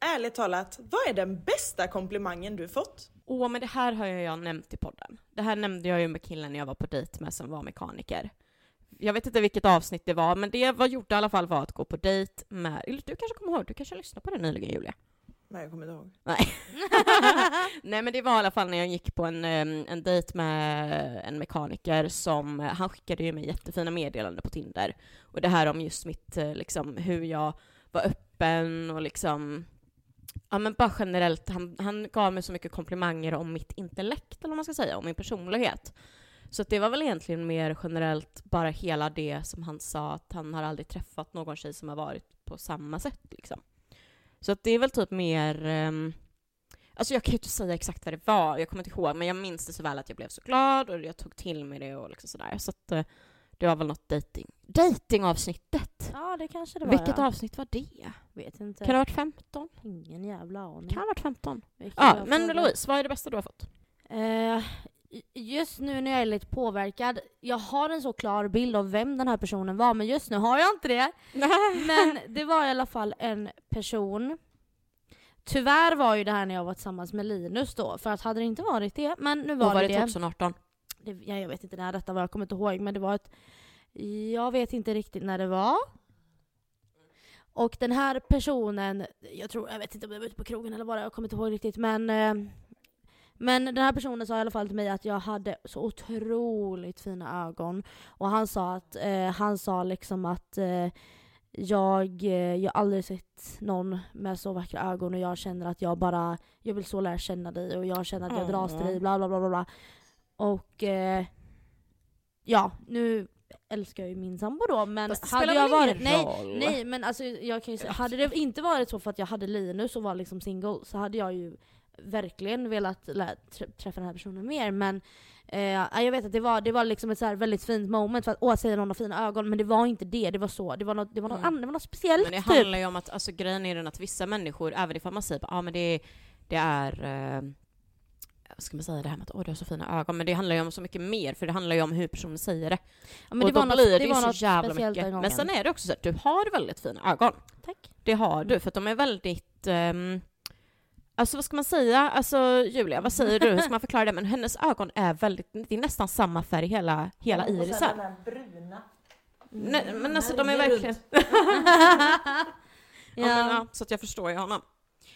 Speaker 4: Ärligt talat, vad är den bästa komplimangen du fått?
Speaker 1: Åh, men det här har ju jag nämnt i podden. Det här nämnde jag ju med killen jag var på dejt med som var mekaniker. Jag vet inte vilket avsnitt det var, men det jag gjorde i alla fall var att gå på dejt med... Eller Du kanske kommer ihåg? Du kanske lyssnade på det nyligen, Julia?
Speaker 4: Nej, jag kommer inte ihåg.
Speaker 1: Nej men det var i alla fall när jag gick på en, em, en dejt med en mekaniker som, eh, han skickade ju mig jättefina meddelanden på Tinder. Och det här om just mitt, eh, liksom hur jag var öppen och liksom, ja men bara generellt, han, han gav mig så mycket komplimanger om mitt intellekt eller vad man ska säga, om min personlighet. Så att det var väl egentligen mer generellt bara hela det som han sa, att han har aldrig träffat någon tjej som har varit på samma sätt liksom. Så att det är väl typ mer em, Alltså jag kan ju inte säga exakt vad det var, jag kommer inte ihåg, men jag minns det så väl att jag blev så glad och jag tog till mig det och liksom sådär. Så att eh, det var väl något dating. Datingavsnittet!
Speaker 2: Ja det kanske det Mm. var
Speaker 1: Vilket
Speaker 2: ja.
Speaker 1: avsnitt var det?
Speaker 2: Vet inte.
Speaker 1: Kan det ha varit 15?
Speaker 2: Ingen jävla aning.
Speaker 1: Kan det ha varit 15?
Speaker 2: Vilken
Speaker 1: Ja,
Speaker 2: bra
Speaker 1: men
Speaker 2: fråga.
Speaker 1: Louise, vad är det bästa du har fått?
Speaker 2: Eh, just nu när jag är lite påverkad, jag har en så klar bild av vem den här personen var men just nu har jag inte det. Men det var i alla fall en person. Tyvärr var ju det här när jag var tillsammans med Linus då, för att hade det inte varit det, men nu var,
Speaker 1: Vad var
Speaker 2: det
Speaker 1: det typ
Speaker 2: det.
Speaker 1: 2018?
Speaker 2: det ja, jag vet inte när detta var, jag kommer inte ihåg, men det var ett... Jag vet inte riktigt när det var. Och den här personen, jag tror, jag vet inte om jag var ute på krogen eller vad det var, jag kommer inte ihåg riktigt, men... eh, Men den här personen sa i alla fall till mig att jag hade så otroligt fina ögon. Och han sa att, eh, han sa liksom att eh, jag, eh, jag har aldrig sett någon med så vackra ögon och jag känner att jag bara, jag vill så lära känna dig och jag känner att jag dras till dig, bla bla bla bla. bla. Och eh, ja, nu älskar jag ju min sambo då men
Speaker 1: Fast det
Speaker 2: hade
Speaker 1: spelar
Speaker 2: jag
Speaker 1: väl
Speaker 2: varit,
Speaker 1: ingen
Speaker 2: nej,
Speaker 1: roll?
Speaker 2: nej men alltså jag kan ju säga, hade det inte varit så för att jag hade Linus och var liksom single så hade jag ju verkligen velat lä- trä- träffa den här personen mer men eh, ja, jag vet att det var, det var liksom ett så här väldigt fint moment för att åh, säger någon har fina ögon men det var inte det, det var så, det var något, det var något,
Speaker 1: Mm.
Speaker 2: annat, det var något speciellt
Speaker 1: Men det
Speaker 2: typ.
Speaker 1: handlar ju om att, alltså grejen är den att vissa människor, även ifall man säger att ah, men det, det är, eh, vad ska man säga det här med att åh du har så fina ögon, men det handlar ju om så mycket mer, för det handlar ju om hur personen säger det.
Speaker 2: Ja, men
Speaker 1: och då
Speaker 2: något-
Speaker 1: blir det,
Speaker 2: det
Speaker 1: ju
Speaker 2: var
Speaker 1: så
Speaker 2: något
Speaker 1: jävla
Speaker 2: speciellt
Speaker 1: mycket.
Speaker 2: den gången.
Speaker 1: Men sen är det också så att du har väldigt fina ögon.
Speaker 2: Tack.
Speaker 1: Det har du, för att de är väldigt... ehm, alltså vad ska man säga? Alltså Julia, vad säger du? Hur ska man förklara det? Men hennes ögon är väldigt... Det är nästan samma färg hela, hela irisen.
Speaker 4: här bruna.
Speaker 1: Nej, men alltså de är verkligen... Ja.
Speaker 2: Ja.
Speaker 1: men, ja, så att jag förstår ju honom.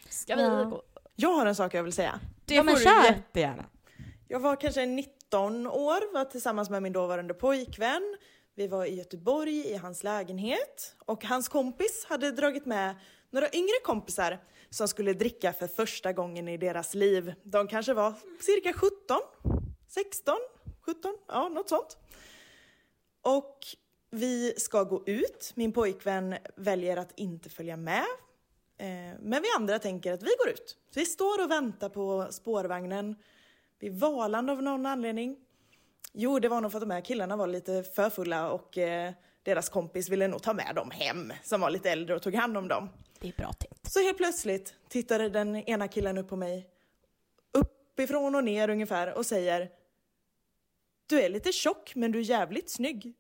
Speaker 1: Ska vi
Speaker 2: Ja.
Speaker 1: gå?
Speaker 4: Jag har en sak jag vill säga.
Speaker 1: Det
Speaker 2: Ja, men
Speaker 1: får
Speaker 2: kör.
Speaker 1: du jättegärna.
Speaker 4: Jag var kanske 19 år, var tillsammans med min dåvarande pojkvän. Vi var i Göteborg i hans lägenhet och hans kompis hade dragit med några yngre kompisar som skulle dricka för första gången i deras liv. De kanske var cirka 17, 16, 17, ja något sånt. Och vi ska gå ut. Min pojkvän väljer att inte följa med. Eh, Men vi andra tänker att vi går ut. Så vi står och väntar på spårvagnen vid Valand av någon anledning. Jo, det var nog för att de här killarna var lite för fulla och eh, deras kompis ville nog ta med dem hem som var lite äldre och tog hand om dem.
Speaker 1: Det är bra tänkt.
Speaker 4: Så helt plötsligt tittade den ena killen upp på mig, uppifrån och ner ungefär, och säger Du är lite tjock, men du är jävligt snygg.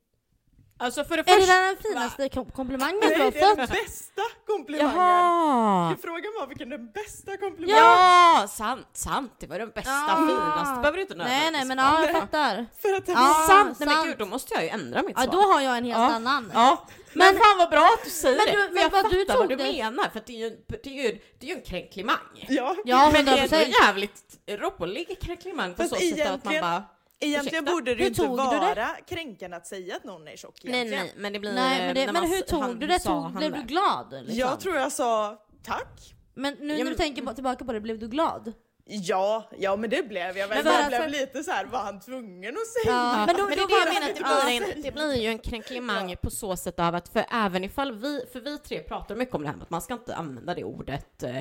Speaker 1: Alltså för det
Speaker 2: Är det
Speaker 1: första...
Speaker 2: där den finaste kom- komplimangen
Speaker 4: Nej,
Speaker 2: du har
Speaker 4: det är
Speaker 2: fått?
Speaker 4: den bästa komplimangen!
Speaker 1: Jaha!
Speaker 4: Frågan var vilken den bästa komplimangen
Speaker 1: Ja, sant, sant. Det var den bästa,
Speaker 2: Ja.
Speaker 1: finaste. behöver du inte
Speaker 2: Nej nej
Speaker 1: nödvändigtvis
Speaker 2: men
Speaker 1: vara.
Speaker 2: ja, jag fattar.
Speaker 4: För att den
Speaker 2: Ja,
Speaker 1: sant, nej men
Speaker 2: sant.
Speaker 1: gud då måste jag ju ändra mitt
Speaker 2: Ja
Speaker 1: svar.
Speaker 2: då har jag en helt
Speaker 1: Ja.
Speaker 2: annan.
Speaker 1: Ja, men, fan vad bra att du säger
Speaker 2: Men
Speaker 1: det.
Speaker 2: du-
Speaker 1: för
Speaker 2: men
Speaker 1: jag
Speaker 2: vad
Speaker 1: fattar
Speaker 2: du
Speaker 1: vad
Speaker 2: tog
Speaker 1: du
Speaker 2: det.
Speaker 1: menar, för att det är ju, det är ju, det är ju en kränklimang.
Speaker 4: Ja.
Speaker 2: Ja,
Speaker 1: men det är
Speaker 2: 100%.
Speaker 1: en jävligt rolig kränklimang på
Speaker 4: Fast
Speaker 1: så sätt att man
Speaker 4: egentligen-
Speaker 1: bara...
Speaker 4: Egentligen
Speaker 1: Ursäkta,
Speaker 4: borde det ju
Speaker 2: hur
Speaker 4: inte
Speaker 2: tog du det?
Speaker 4: vara kränkande att säga att någon är tjock
Speaker 1: Nej,
Speaker 4: egentligen.
Speaker 1: nej, men det blir...
Speaker 2: Nej men,
Speaker 1: när
Speaker 2: det, men
Speaker 1: man-
Speaker 2: hur
Speaker 1: han
Speaker 2: tog du det?
Speaker 1: sa
Speaker 2: Tog,
Speaker 1: han
Speaker 2: blev
Speaker 1: där.
Speaker 2: du glad? Liksom?
Speaker 4: Jag tror jag sa tack.
Speaker 2: Men nu
Speaker 1: Ja,
Speaker 2: när du
Speaker 1: men-
Speaker 2: tänker på, tillbaka på det, blev du glad?
Speaker 4: Ja, ja men det blev jag väl.
Speaker 2: Men
Speaker 4: jag
Speaker 2: varför-
Speaker 4: blev lite så här, var han tvungen att säga?
Speaker 2: Ja. Men, då,
Speaker 1: Men det
Speaker 2: då
Speaker 1: är det jag
Speaker 2: var-
Speaker 1: menar, att det blir, en, det blir ju en kränklimang på så sätt av att, för även ifall vi, för vi tre pratar mycket om det här med att man ska inte använda det ordet eh,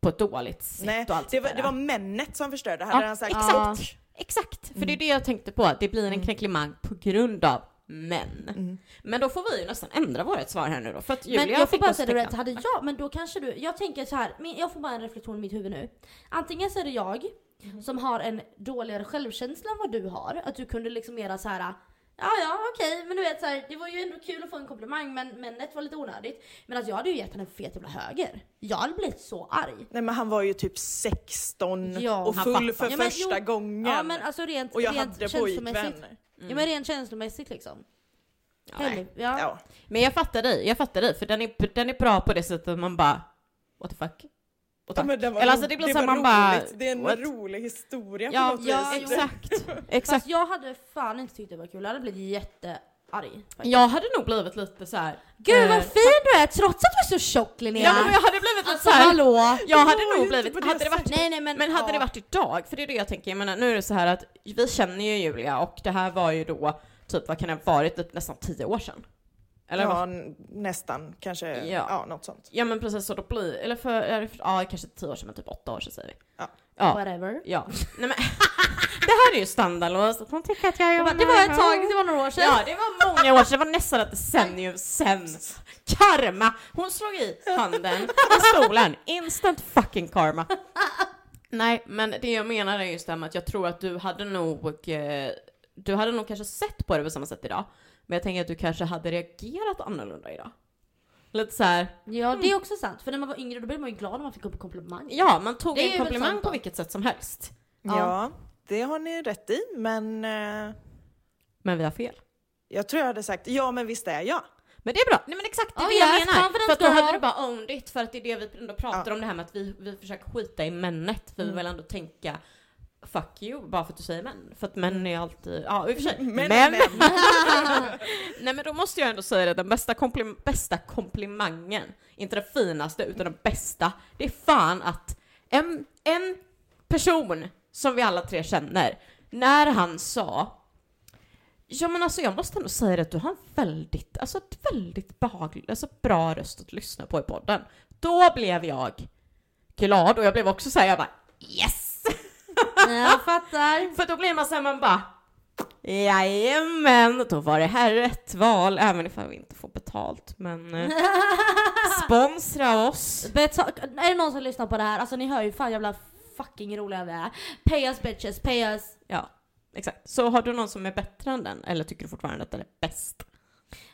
Speaker 1: på ett dåligt sätt
Speaker 4: Nej,
Speaker 1: och allt
Speaker 4: det var,
Speaker 1: sånt
Speaker 4: det
Speaker 1: där.
Speaker 4: var männet som förstörde. Hade
Speaker 1: Ja,
Speaker 4: han sagt
Speaker 1: exakt.
Speaker 4: "Sock",
Speaker 1: Exakt, för det
Speaker 2: Mm.
Speaker 1: är det jag tänkte på, att det blir en kränklimang på grund av män. Men då får vi ju nästan ändra vårt svar här nu då, för att Julia
Speaker 2: Mm. men jag får
Speaker 1: fick
Speaker 2: bara
Speaker 1: oss
Speaker 2: säga det
Speaker 1: täcka.
Speaker 2: rätt, hade jag, men då kanske du, jag tänker så här, men jag får bara en reflektion i mitt huvud nu. Antingen så är det jag
Speaker 1: Mhm.
Speaker 2: som har en dåligare självkänsla än vad du har, att du kunde liksom mera så här. Ja, ja, okej, men du vet så här, det var ju ändå kul att få en komplimang men männet var lite onödigt. Men alltså jag hade ju gett henne en fet jävla höger. Jag hade blivit så arg.
Speaker 4: Nej men han var ju typ 16
Speaker 2: Ja,
Speaker 4: och
Speaker 1: han fattar.
Speaker 4: full för
Speaker 2: Ja, men
Speaker 4: första
Speaker 2: jo,
Speaker 4: gången.
Speaker 2: Ja men alltså rent,
Speaker 4: och jag
Speaker 2: rent
Speaker 4: hade
Speaker 2: känslomässigt.
Speaker 4: pojkvän.
Speaker 2: Ja men rent känslomässigt liksom.
Speaker 1: Ja, nej.
Speaker 2: Helv- Ja.
Speaker 4: Ja.
Speaker 1: Men jag fattar dig, jag fattar dig, för den är, den är bra på det sättet att man bara, what the fuck? Och
Speaker 4: Ja,
Speaker 1: tack.
Speaker 4: men den var
Speaker 1: Eller alltså
Speaker 4: ro-
Speaker 1: det blir
Speaker 4: det
Speaker 1: så här,
Speaker 4: var
Speaker 1: man bara,
Speaker 4: roligt. Det är en
Speaker 1: what?
Speaker 4: rolig historia på
Speaker 1: Ja,
Speaker 4: något
Speaker 1: ja
Speaker 4: vis.
Speaker 1: exakt, exakt.
Speaker 2: Fast jag hade fan inte tyckt det var kul, jag hade blivit jättearg.
Speaker 1: Jag hade nog blivit lite så här.
Speaker 2: Gud
Speaker 1: eh,
Speaker 2: vad fin du är trots att du är så tjock Linnea!
Speaker 1: Ja, men jag hade blivit lite
Speaker 2: alltså
Speaker 1: så här.
Speaker 2: hallå!
Speaker 1: Jag
Speaker 4: Det
Speaker 1: hade
Speaker 4: var ju
Speaker 1: nog
Speaker 4: inte på
Speaker 1: blivit,
Speaker 4: det
Speaker 1: hade det varit,
Speaker 2: Nej nej men,
Speaker 1: men hade
Speaker 2: ja.
Speaker 1: det varit idag, för det är det jag tänker, jag menar nu är det så här att vi känner ju Julia och det här var ju då, typ vad kan det ha varit, typ nästan tio år sedan? Eller
Speaker 4: ja,
Speaker 1: vad?
Speaker 4: n- nästan kanske.
Speaker 1: Ja.
Speaker 4: Ja. något sånt.
Speaker 1: Ja men precis, så då blir, eller för, är det för, ja kanske tio år sedan, men typ åtta år sedan säger vi.
Speaker 4: Ja.
Speaker 1: Ja.
Speaker 2: Whatever.
Speaker 1: ja. Nej, men, det här är ju standardlöst, att hon tycker att jag
Speaker 2: Jag
Speaker 1: är
Speaker 2: bara, det var ett tag, det var några år sedan.
Speaker 1: Ja, det var många år sedan, det var nästan ett decennium sen. Karma! Hon slog i handen i stolen. Instant fucking karma. Nej, men det jag menar är just det här med att jag tror att du hade nog, eh, du hade nog kanske sett på det på samma sätt idag. Men jag tänker att du kanske hade reagerat annorlunda idag. Lite så här,
Speaker 2: Ja det är också sant, för när man var yngre då blev man ju glad när man fick upp en komplimang.
Speaker 1: ja man tog
Speaker 2: Det är
Speaker 1: en
Speaker 2: väl
Speaker 1: komplimang
Speaker 2: sant
Speaker 1: på
Speaker 2: då.
Speaker 1: vilket sätt som helst.
Speaker 2: Ja.
Speaker 4: Ja. det har ni rätt i. Men eh,
Speaker 1: Men vi har fel.
Speaker 4: jag tror jag hade sagt ja men visst är jag.
Speaker 1: Men det är bra, nej men exakt det är
Speaker 2: Oh
Speaker 1: det
Speaker 2: yes,
Speaker 1: jag menar.
Speaker 2: confidence
Speaker 1: För att då hade
Speaker 2: girl.
Speaker 1: du bara owned it, för att det är det vi ändå pratar om det här med att vi, vi försöker skita i männet. Vi vill ändå tänka fuck you bara för att du säger män. För att män är alltid, ja i och för sig.
Speaker 4: Men,
Speaker 1: Men-
Speaker 4: men.
Speaker 1: Nej men då måste jag ändå säga det, den bästa, komplim- bästa komplimangen, inte den finaste utan den bästa, det är fan att en, en person som vi alla tre känner, när han sa Ja men alltså jag måste ändå säga det att du har en väldigt, alltså ett väldigt behaglig, alltså bra röst att lyssna på i podden. Då blev jag glad och jag blev också såhär, jag bara yes!
Speaker 2: Jag fattar.
Speaker 1: För då blir man såhär, man bara Jajamän, då var det här rätt val, även ifall vi inte får betalt. Men eh, sponsra oss.
Speaker 2: Beta- är det någon som lyssnar på det här, alltså ni hör ju fan jävla fucking roliga vi är. Pay us bitches, pay us.
Speaker 1: Ja, exakt. Så har du någon som är bättre än den, eller tycker du fortfarande att den är bäst?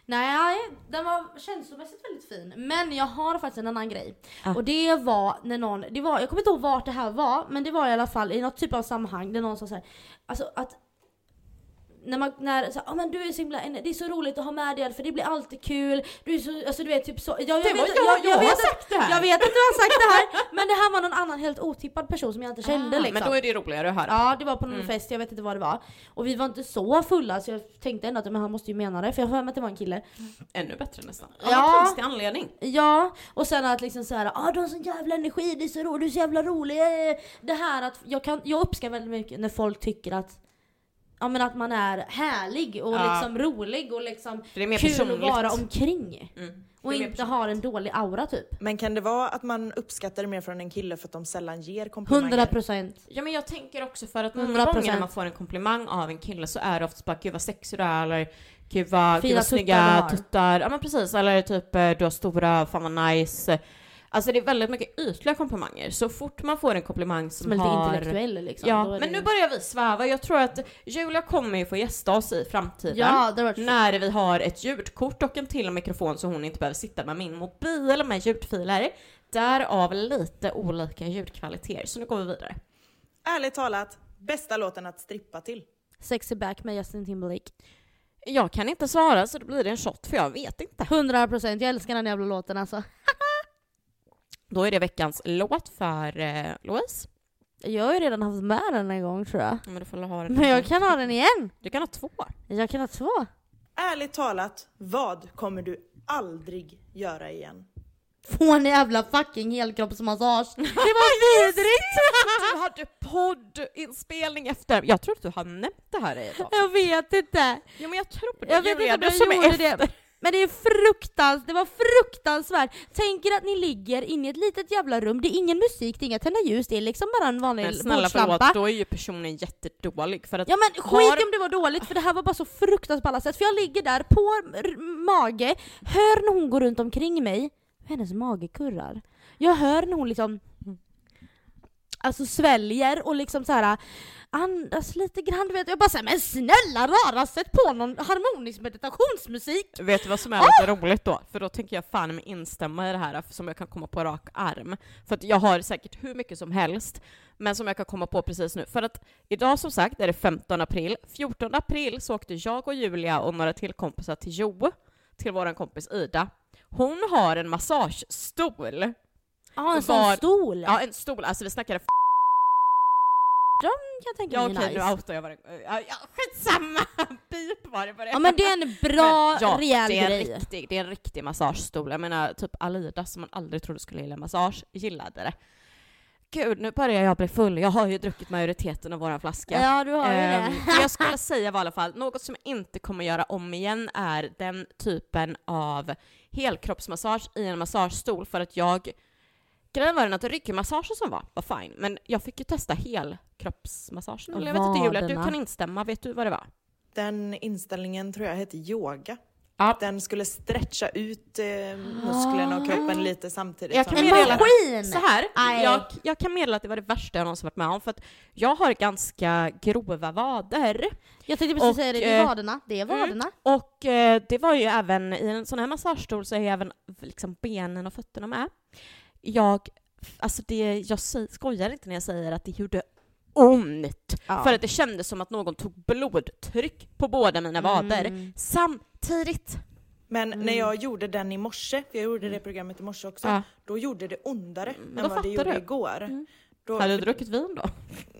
Speaker 2: Nej, den var känslomässigt väldigt fin. Men jag har faktiskt en annan grej.
Speaker 1: Ah.
Speaker 2: Och det var när någon, det var, jag kommer inte ihåg vart det här var, men det var i alla fall i något typ av sammanhang där någon sa såhär, alltså att när man, när så, här, ah, men du är så himla, det är så roligt att ha med dig för det blir alltid kul, du är så, alltså du vet typ så. Jag, jag,
Speaker 1: Det var
Speaker 2: vet,
Speaker 1: jag, jag,
Speaker 2: vet
Speaker 1: har
Speaker 2: att-
Speaker 1: sagt det här!
Speaker 2: jag vet att du har sagt det här, men det här var någon annan helt otippad person som jag inte kände
Speaker 1: Ah,
Speaker 2: liksom.
Speaker 1: Men då är Mm. det roligare att höra.
Speaker 2: Ja, det var på någon fest, jag vet inte vad det var. Och vi var inte så fulla så jag tänkte ändå att men han måste ju mena det, för jag har för mig att det var en kille.
Speaker 1: Ännu bättre nästan.
Speaker 2: Ja.
Speaker 1: Av ja. konstig anledning.
Speaker 2: Ja, och sen att liksom såhär, ah, du har sån jävla energi, det är så roligt, du är så jävla rolig. eh." Det här att, jag, kan, jag uppskattar väldigt mycket när folk tycker att Ja men att man är härlig och
Speaker 1: Ja.
Speaker 2: liksom rolig och liksom
Speaker 1: För det är mer
Speaker 2: kul att
Speaker 1: personligt.
Speaker 2: vara omkring.
Speaker 1: Mm.
Speaker 2: Och
Speaker 1: Det är mer Oh
Speaker 2: inte har en dålig aura typ.
Speaker 4: men kan det vara att man uppskattar det mer från en kille för att de sällan ger komplimanger?
Speaker 2: 100% procent.
Speaker 1: Ja men jag tänker också för att
Speaker 2: 100%.
Speaker 1: många gånger när man får en komplimang av en kille så är det oftast bara gud vad sexig du är eller gud vad, gud
Speaker 2: Fina
Speaker 1: vad
Speaker 2: tuttar du
Speaker 1: snygga
Speaker 2: har."
Speaker 1: tuttar. Ja men precis eller typ eh, du har stora, fan vad nice. Alltså det är väldigt mycket ytliga komplimanger. Så fort man får en komplimang som,
Speaker 2: Som är lite
Speaker 1: har...
Speaker 2: intellektuell liksom.
Speaker 1: Ja,
Speaker 2: Då är
Speaker 1: men
Speaker 2: det-
Speaker 1: nu börjar vi sväva. Jag tror att Julia kommer ju få gästa oss i framtiden.
Speaker 2: Ja, det var
Speaker 1: När vi har ett ljudkort och en till mikrofon så hon inte behöver sitta med min mobil med ljudfiler. Därav lite olika ljudkvaliteter. Så nu går vi vidare.
Speaker 4: Ärligt talat, bästa låten att strippa till.
Speaker 2: Sexy back med Justin Timberlake.
Speaker 1: Jag kan inte svara så då blir det en shot för jag vet inte.
Speaker 2: 100 procent, jag älskar den jävla låten alltså.
Speaker 1: Då är det veckans låt för eh, Louise.
Speaker 2: Jag har ju redan haft med den en gång tror jag.
Speaker 1: Ja, Men du får ha den.
Speaker 2: Men jag kan ha den igen.
Speaker 1: Du kan ha två.
Speaker 2: Jag kan ha två.
Speaker 4: Ärligt talat, vad kommer du aldrig göra igen?
Speaker 2: Får ni jävla fucking helkroppsmassage?
Speaker 1: Det var vidrigt! Du hade poddinspelning efter. Jag tror att du har nämnt det här i ett avsnitt.
Speaker 2: Jag vet inte.
Speaker 1: Ja, men jag tror det.
Speaker 2: Jag vet inte om jag gjorde det. Men det är fruktans, det var fruktansvärt. Tänk er att ni ligger inne i ett litet jävla rum, det är ingen musik, det är inga tända ljus, det är liksom bara en vanlig
Speaker 1: Men snälla
Speaker 2: bordslampa.
Speaker 1: förlåt, då är ju personen jättedålig för att
Speaker 2: Ja men skit
Speaker 1: Har-
Speaker 2: om det var dåligt för det här var bara så fruktansvärt på alla sätt. För jag ligger där på r- mage, hör när hon går runt omkring mig, hur hennes mage kurrar. Jag hör när hon liksom Alltså sväljer och liksom så här andas lite grann du vet. Jag bara säger men snälla rara sätt på någon harmonisk meditationsmusik!
Speaker 1: Vet du vad som är
Speaker 2: Ah!
Speaker 1: lite roligt då? För då tänker jag fan mig instämma i det här som jag kan komma på rak arm. För att jag har säkert hur mycket som helst, men som jag kan komma på precis nu. För att idag som sagt är det 15 april. 14 april så åkte jag och Julia och några till kompisar till Jo, till våran kompis Ida. Hon har en massagestol.
Speaker 2: Ja en
Speaker 1: Och
Speaker 2: sån
Speaker 1: var-
Speaker 2: stol!
Speaker 1: Ja, en stol. Alltså vi snackade f-
Speaker 2: kan jag tänka
Speaker 1: Ja
Speaker 2: mig
Speaker 1: okej,
Speaker 2: är nice.
Speaker 1: nu outar jag vad det... Ja, ja, skitsamma! Pip var det på det.
Speaker 2: Ja men det är en bra,
Speaker 1: Men ja,
Speaker 2: rejäl
Speaker 1: det är en
Speaker 2: grej.
Speaker 1: Riktig, det är en riktig massagestol. Jag menar, typ Alida som man aldrig trodde skulle gilla massage, gillade det. Gud, nu börjar jag bli full. Jag har ju druckit majoriteten av våran flaska.
Speaker 2: Ja du har ju
Speaker 1: Ehm,
Speaker 2: det.
Speaker 1: det jag skulle säga var i alla fall, något som jag inte kommer göra om igen är den typen av helkroppsmassage i en massagestol för att jag Grejen var den att ryggmassagen som var, var fine, men jag fick ju testa helkroppsmassagen. Eller jag vet inte Julia, du
Speaker 2: Vaderna.
Speaker 1: kan instämma, vet du vad det var?
Speaker 4: Den inställningen tror jag heter yoga.
Speaker 1: Ja.
Speaker 4: Den skulle stretcha ut eh, musklerna och kroppen lite samtidigt.
Speaker 1: Ah. Jag
Speaker 4: som-
Speaker 1: kan
Speaker 2: En
Speaker 1: meddela-
Speaker 2: maskin!
Speaker 1: Så här,
Speaker 2: Aj.
Speaker 1: jag, jag kan meddela att det var det värsta jag någonsin varit med om för att jag har ganska grova vader.
Speaker 2: Jag tänkte precis
Speaker 1: Och,
Speaker 2: säga det, det
Speaker 1: eh,
Speaker 2: är vaderna. Det är vaderna.
Speaker 1: Och eh, det var ju även, i en sån här massagestol så är ju även liksom benen och fötterna med. Jag, alltså det, jag säger, skojar inte när jag säger att det gjorde ont. För att det kändes som att någon tog blodtryck på båda mina vader
Speaker 2: Mm.
Speaker 1: samtidigt.
Speaker 4: Men när jag gjorde den i morse, för jag gjorde det programmet i morse också,
Speaker 1: Mm. Ja.
Speaker 4: då gjorde det ondare
Speaker 1: Mm, då
Speaker 4: än vad
Speaker 1: fattar
Speaker 4: det gjorde
Speaker 1: du. Mm.
Speaker 4: igår. Då,
Speaker 1: Hade du druckit vin då?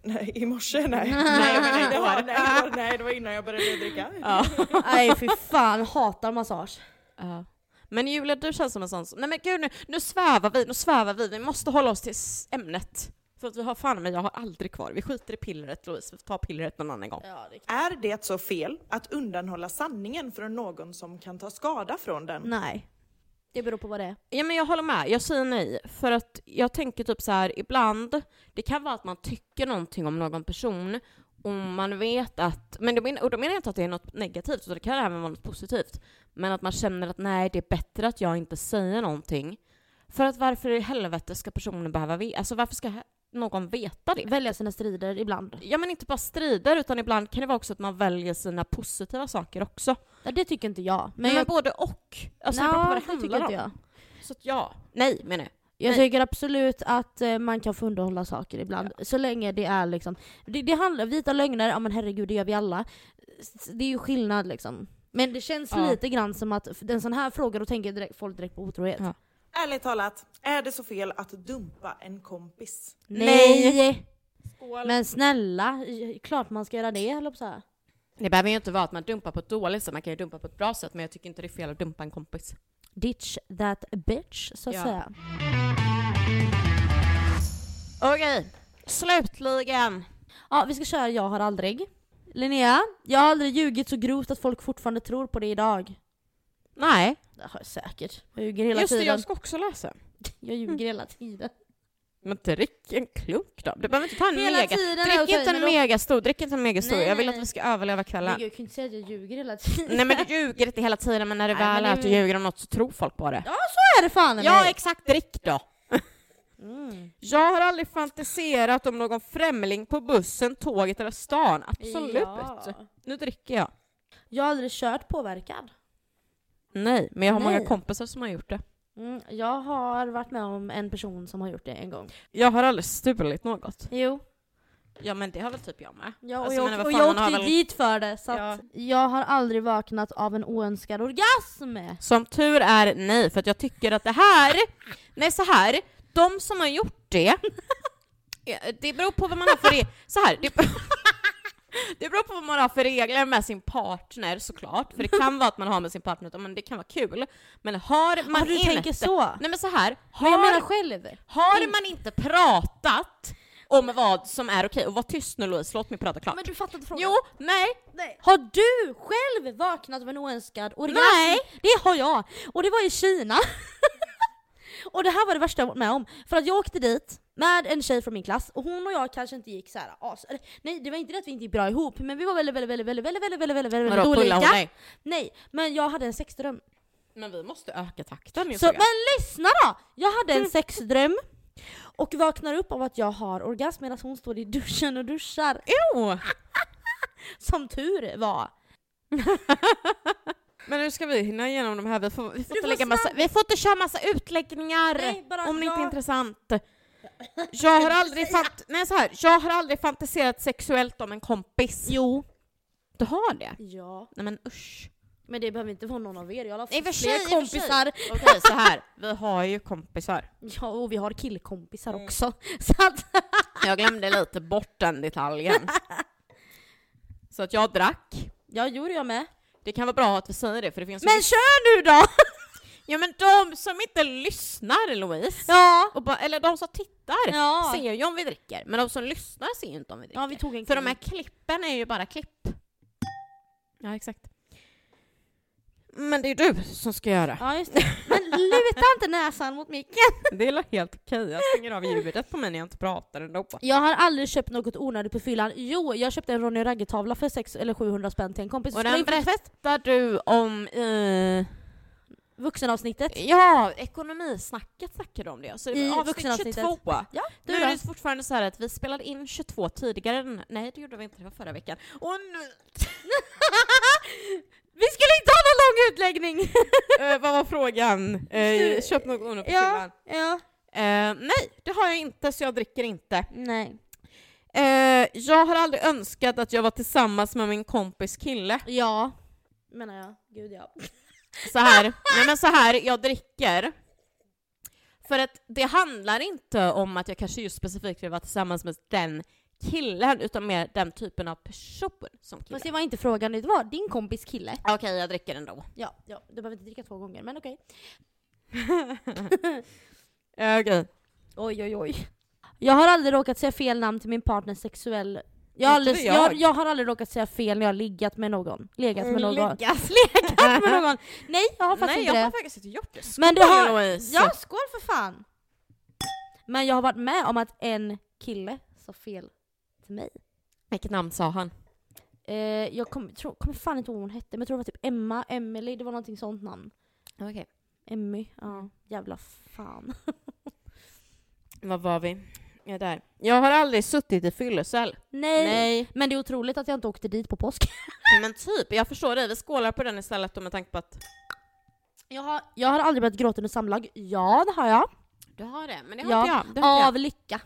Speaker 4: Nej, i morse? Nej.
Speaker 1: Nej,
Speaker 4: nej,
Speaker 1: jag menar
Speaker 4: det
Speaker 1: igår.
Speaker 4: var, nej, det var, nej, det var innan jag började dricka.
Speaker 1: Ja.
Speaker 2: Nej fy fan, hatar massage.
Speaker 1: Ja. Men Julia, du känns som en sån som, nej men gud nu, nu svävar vi, nu svävar vi, vi måste hålla oss till s- ämnet. För att vi har fan men jag har aldrig kvar, vi skiter i pillret Louise, vi tar pillret någon annan gång.
Speaker 2: Ja, det kan...
Speaker 4: Är det så fel att undanhålla sanningen från någon som kan ta skada från den?
Speaker 2: Nej. Det beror på vad det är.
Speaker 1: Ja men jag håller med, jag säger nej. För att jag tänker typ så här ibland, det kan vara att man tycker någonting om någon person och man vet att, men då men, och då menar jag inte att det är något negativt, utan det kan även vara något positivt. Men att man känner att nej, det är bättre att jag inte säger någonting. För att varför i helvete ska personen behöva veta? Alltså varför ska he- någon veta det?
Speaker 2: Välja sina strider ibland.
Speaker 1: Ja men inte bara strider, utan ibland kan det vara också att man väljer sina positiva saker också.
Speaker 2: Ja, det tycker inte jag. Men,
Speaker 1: Men,
Speaker 2: jag...
Speaker 1: både och. Alltså det
Speaker 2: Nå,
Speaker 1: beror på vad det
Speaker 2: tycker
Speaker 1: handlar
Speaker 2: inte
Speaker 1: om.
Speaker 2: jag.
Speaker 1: Så att ja, nej menar jag.
Speaker 2: Jag
Speaker 1: Nej.
Speaker 2: tycker absolut att eh, man kan få underhålla saker ibland. Så länge det är liksom... Det, det handlar vita lögner, ja men herregud det gör vi alla. S- Det är ju skillnad liksom. Men det känns
Speaker 1: Ja.
Speaker 2: lite grann som att f- en sån här fråga, då tänker direkt, folk direkt på otrohet.
Speaker 1: Ja.
Speaker 4: Ärligt talat, är det så fel att dumpa en kompis?
Speaker 1: Nej.
Speaker 2: Nej! Men snälla, j- klart man ska göra det höll jag på att säga.
Speaker 1: Det behöver ju inte vara att man dumpar på ett dåligt sätt, man kan ju dumpa på ett bra sätt men jag tycker inte det är fel att dumpa en kompis.
Speaker 2: Ditch that bitch, så att
Speaker 1: Ja.
Speaker 2: säga.
Speaker 1: Okej, slutligen.
Speaker 2: Ja, vi ska köra Jag har aldrig. Linnea, jag har aldrig ljugit så grovt att folk fortfarande tror på det idag.
Speaker 1: Nej,
Speaker 2: Det har jag säkert. Jag ljuger hela
Speaker 1: just det
Speaker 2: tiden.
Speaker 1: jag ska också läsa.
Speaker 2: jag ljuger hela tiden.
Speaker 1: Men drick en klunk då, du behöver inte ta en
Speaker 2: Hela
Speaker 1: mega.
Speaker 2: tiden har jag
Speaker 1: Drick inte
Speaker 2: tagit-
Speaker 1: en megastor, drick inte en megastor.
Speaker 2: Nej,
Speaker 1: Jag vill
Speaker 2: nej,
Speaker 1: att vi ska överleva
Speaker 2: Men
Speaker 1: kvällen.
Speaker 2: gud, jag kan ju inte säga att jag ljuger hela tiden.
Speaker 1: Nej men du ljuger inte hela tiden men när det
Speaker 2: Nej,
Speaker 1: väl
Speaker 2: men
Speaker 1: är att du
Speaker 2: det-
Speaker 1: ljuger om något så tror folk på det.
Speaker 2: Ja, så är det fan i
Speaker 1: Ja
Speaker 2: mig.
Speaker 1: exakt, drick då.
Speaker 2: Mm.
Speaker 1: Jag har aldrig fantiserat om någon främling på bussen, tåget eller stan. Absolut.
Speaker 2: Ja.
Speaker 1: Nu dricker jag.
Speaker 2: Jag har aldrig kört påverkad.
Speaker 1: Nej, men jag har många
Speaker 2: Nej.
Speaker 1: kompisar som har gjort det.
Speaker 2: Mm, jag har varit med om en person som har gjort det en gång.
Speaker 1: Jag har aldrig stulit något.
Speaker 2: Jo,
Speaker 1: Ja men det har väl typ jag med.
Speaker 2: Ja, och
Speaker 1: Alltså,
Speaker 2: jag,
Speaker 1: men vad
Speaker 2: och
Speaker 1: fan,
Speaker 2: jag
Speaker 1: man har
Speaker 2: åkte
Speaker 1: väl-
Speaker 2: dit för det så att jag har aldrig vaknat av en oönskad orgasm.
Speaker 1: Som tur är nej, för att jag tycker att det här, nej så här, de som har gjort det, eh, det beror på vad man har för det. Så här, det, Det beror på vad man har för regler med sin partner såklart, för det kan vara att man har med sin partner, men det kan vara kul. Men har man
Speaker 2: Man du
Speaker 1: inte...
Speaker 2: tänker så?
Speaker 1: Nej men så här, har,
Speaker 2: Men jag menar själv.
Speaker 1: har man inte pratat om vad som är okej, och var tyst nu Louise, låt mig prata klart.
Speaker 2: Men du fattade frågan.
Speaker 1: Jo, nej,
Speaker 2: Nej. Har du själv vaknat av en oönskad orgasm?
Speaker 1: Nej.
Speaker 2: Det har jag! Och det var i Kina. och det här var det värsta jag varit med om. För att jag åkte dit med en tjej från min klass och hon och jag kanske inte gick så här as... eller, Nej det var inte det att vi inte gick bra ihop men vi var väldigt väldigt väldigt väldigt väldigt väldigt väldigt väldigt väldigt
Speaker 1: Vadå,
Speaker 2: olika.
Speaker 1: pullar hon dig?
Speaker 2: Nej, men jag hade en sexdröm.
Speaker 1: Men vi måste öka takten
Speaker 2: Så, men lyssna då! Jag hade en sexdröm och vaknar upp av att jag har orgasm medan hon står i duschen och duschar.
Speaker 1: Jo!
Speaker 2: Som tur var.
Speaker 1: Men nu ska vi hinna igenom de här, vi får, vi får,
Speaker 2: Du
Speaker 1: inte,
Speaker 2: får
Speaker 1: lägga massa,
Speaker 2: snabb-
Speaker 1: vi får inte köra massa utläggningar
Speaker 2: Nej, bara
Speaker 1: om det inte är
Speaker 2: jag-
Speaker 1: intressant. Jag har aldrig, fant- nej, så här, jag har aldrig fantiserat sexuellt om en kompis.
Speaker 2: Jo.
Speaker 1: Du har det?
Speaker 2: Ja.
Speaker 1: Nej men usch.
Speaker 2: Men det behöver inte vara någon av er, jag har haft
Speaker 1: I och för sig, i och
Speaker 2: fler
Speaker 1: för sig.
Speaker 2: kompisar.
Speaker 1: Okej så här, vi har ju kompisar.
Speaker 2: Ja, och vi har killkompisar också. Så att,
Speaker 1: Jag glömde lite bort den detaljen. Så att jag drack.
Speaker 2: ja, gjorde jag med.
Speaker 1: Det kan vara bra att vi säger det för det finns så
Speaker 2: Men
Speaker 1: mycket-
Speaker 2: kör nu då!
Speaker 1: Ja men de som inte lyssnar Louise,
Speaker 2: Ja.
Speaker 1: och bara, eller de som tittar
Speaker 2: Ja.
Speaker 1: ser ju om vi dricker, men de som lyssnar ser ju inte om vi dricker.
Speaker 2: Ja, vi tog en
Speaker 1: För de här klippen är ju bara klipp. Ja exakt. Men det är ju du som ska göra.
Speaker 2: Ja, just det. Men luta inte näsan mot micken.
Speaker 1: Det är helt okej, jag stänger av ljudet på mig när jag inte pratar ändå.
Speaker 2: Jag har aldrig köpt något onödigt på fyllan. Jo, jag köpte en Ronny Ragge-tavla för 6 eller 700 spänn till en kompis.
Speaker 1: Och den berättar du om i...
Speaker 2: Vuxenavsnittet.
Speaker 1: Ja, ekonomisnacket snackade du om det. Så det
Speaker 2: I
Speaker 1: var avsnitt
Speaker 2: vuxenavsnittet.
Speaker 1: 22.
Speaker 2: Ja,
Speaker 1: Nu
Speaker 2: du
Speaker 1: är
Speaker 2: då?
Speaker 1: det fortfarande så här att vi spelade in 22 tidigare än... Nej, det gjorde vi inte, det var förra veckan. Och nu...
Speaker 2: Vi skulle inte ha någon lång utläggning!
Speaker 1: Eh, vad var frågan? Eh, köp något onödigt på fyllan.
Speaker 2: ja, ja.
Speaker 1: Eh, nej, det har jag inte, så jag dricker inte.
Speaker 2: Nej.
Speaker 1: Eh, jag har aldrig önskat att jag var tillsammans med min kompis kille.
Speaker 2: Ja. Menar jag. Gud ja.
Speaker 1: Så här, nej men så här, jag dricker. För att det handlar inte om att jag kanske just specifikt vill vara tillsammans med den killen, utan mer den typen av person som kille.
Speaker 2: Fast det var inte frågan, det var din kompis kille.
Speaker 1: Okej, jag dricker ändå.
Speaker 2: Ja, ja. Du behöver inte dricka två gånger, men okej.
Speaker 1: Eh, Okej.
Speaker 2: Oj, oj, oj. Jag har aldrig råkat säga fel namn till min partner sexuell... Jag har,
Speaker 1: Inte
Speaker 2: aldrig,
Speaker 1: det jag.
Speaker 2: jag. Jag har aldrig råkat säga fel när jag har liggat med någon. Legat med någon.
Speaker 1: Legas.
Speaker 2: Legat med någon. Nej, jag har faktiskt
Speaker 1: Nej,
Speaker 2: inte
Speaker 1: jag
Speaker 2: det.
Speaker 1: har faktiskt inte gjort det.
Speaker 2: Men du
Speaker 1: Skål,
Speaker 2: har-
Speaker 1: Louise.
Speaker 2: Ja, skål för fan! Men jag har varit med om att en kille sa fel till mig.
Speaker 1: Vilket namn sa han?
Speaker 2: Eh, jag kommer tro- kommer fan inte ihåg vad hon hette, men jag tror det var typ Emma, Emily, det var någonting sånt namn.
Speaker 1: Okej.
Speaker 2: Emmy, ja. Jävla fan.
Speaker 1: Vad var vi? Jag är där. Jag har aldrig suttit i fyllecell.
Speaker 2: Nej. Men det är otroligt att jag inte åkte dit på påsk.
Speaker 1: Men typ, jag förstår dig. Vi skålar på den istället då med tanke på att...
Speaker 2: Jag har, jag har aldrig börjat gråta under samlag. Ja, det har jag.
Speaker 1: Du har det, men det har
Speaker 2: Ja,
Speaker 1: inte jag. Det har inte jag.
Speaker 2: Av lycka.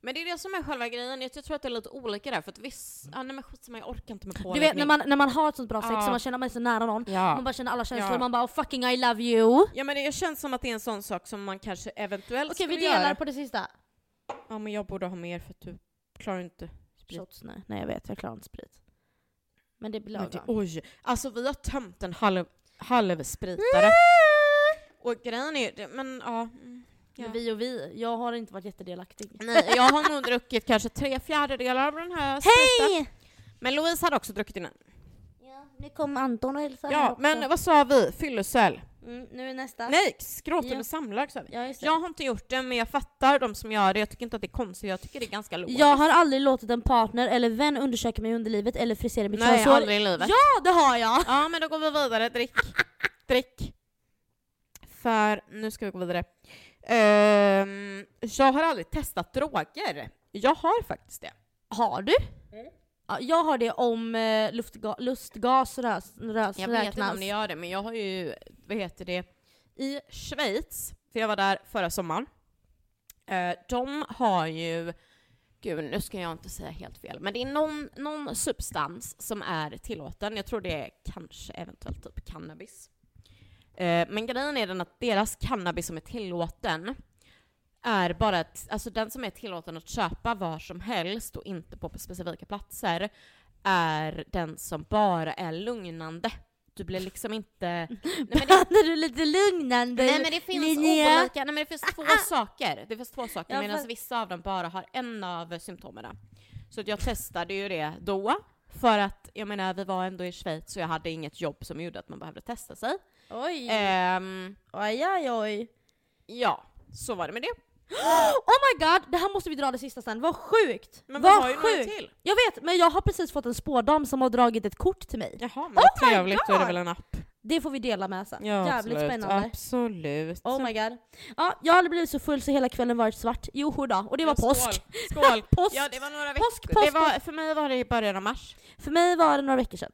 Speaker 1: Men det är det som är själva grejen. Jag tror att det är lite olika där, för att viss... Ja, nej men skitsamma, jag orkar inte med
Speaker 2: Du
Speaker 1: påläggning.
Speaker 2: vet när man, när man har ett sånt bra sex
Speaker 1: Ja.
Speaker 2: och man känner att man är så nära någon. Man
Speaker 1: Ja.
Speaker 2: bara känner alla känslor,
Speaker 1: Ja.
Speaker 2: man bara oh, fucking I love you. Okej
Speaker 1: Ja men det känns som att det är en sån sak som man kanske eventuellt
Speaker 2: vi
Speaker 1: skulle
Speaker 2: delar
Speaker 1: göra.
Speaker 2: på det sista.
Speaker 1: Ja men jag borde ha mer för att du klarar inte sprit.
Speaker 2: Shots, nej. nej jag vet, jag klarar inte sprit. Men det blir
Speaker 1: Men det,
Speaker 2: lagom.
Speaker 1: oj, alltså vi har tömt en halv, halv spritare. Och grejen är ju, men ja. mm, ja.
Speaker 2: Men vi och vi, jag har inte varit jättedelaktig.
Speaker 1: Nej, jag har nog druckit kanske tre fjärdedelar av den här spriten.
Speaker 2: Hej!
Speaker 1: Men Louise hade också druckit innan.
Speaker 2: Ja, nu kom Anton och hälsade här
Speaker 1: Ja,
Speaker 2: också.
Speaker 1: men vad sa vi? Fyllecell?
Speaker 2: Mm, nu är nästa.
Speaker 1: Nej, skråten
Speaker 2: Ja.
Speaker 1: och samlag sa vi.
Speaker 2: Ja, just det.
Speaker 1: Jag har inte gjort det, men jag fattar de som gör det. Jag tycker inte att det är konstigt, jag tycker det är ganska logiskt.
Speaker 2: Jag har aldrig låtit en partner eller vän undersöka mig under livet eller frisera mitt
Speaker 1: Nej,
Speaker 2: könshår.
Speaker 1: aldrig i livet.
Speaker 2: Ja, det har jag!
Speaker 1: Ja, men då går vi vidare. Drick. Drick. För nu ska vi gå vidare. Ehm, jag har aldrig testat droger. Jag har faktiskt det.
Speaker 2: Har du?
Speaker 1: Mm.
Speaker 2: Ja, jag har det om eh, luftga lustgas rös, rös,
Speaker 1: Jag vet inte
Speaker 2: räknas.
Speaker 1: om ni gör det, men jag har ju, vad heter det, i Schweiz, för jag var där förra sommaren, eh, de har ju, gud nu ska jag inte säga helt fel, men det är någon, någon substans som är tillåten, jag tror det är kanske eventuellt typ cannabis. Eh, men grejen är den att deras cannabis som är tillåten är bara att, alltså den som är tillåten att köpa var som helst och inte på specifika platser är den som bara är lugnande. Du blir liksom inte... Nej, men det,
Speaker 2: Behöver du lite lugnande
Speaker 1: nej, men det finns
Speaker 2: Linnea?
Speaker 1: olika, nej men det finns två saker. Det finns två saker
Speaker 2: Ja,
Speaker 1: medan
Speaker 2: fast-
Speaker 1: vissa av dem bara har en av symptomerna. Så att jag testade ju det då. För att, jag menar vi var ändå i Schweiz så jag hade inget jobb som gjorde att man behövde testa sig.
Speaker 2: Oj.
Speaker 1: Ehm,
Speaker 2: Oj, oj, oj.
Speaker 1: ja, så var det med det.
Speaker 2: Oh my god, det här måste vi dra det sista sen. Vad sjukt!
Speaker 1: Men vi
Speaker 2: Vad
Speaker 1: har ju några
Speaker 2: sjukt!
Speaker 1: till.
Speaker 2: Jag vet, men jag har precis fått en spårdam som har dragit ett kort till mig.
Speaker 1: Jaha, men
Speaker 2: Oh
Speaker 1: oh
Speaker 2: my
Speaker 1: trevligt, då är det
Speaker 2: God!
Speaker 1: väl en app?
Speaker 2: Det får vi dela med sen. Jävligt spännande.
Speaker 1: Absolut.
Speaker 2: Oh my god. Ja, jag hade blivit så full så hela kvällen varit svart. Jo då, och det var
Speaker 1: Ja,
Speaker 2: påsk.
Speaker 1: Skål! skål.
Speaker 2: Påsk.
Speaker 1: Ja, det var några veckor.
Speaker 2: Påsk, påsk,
Speaker 1: det var, för mig var det i början av mars.
Speaker 2: För mig var det några veckor sedan.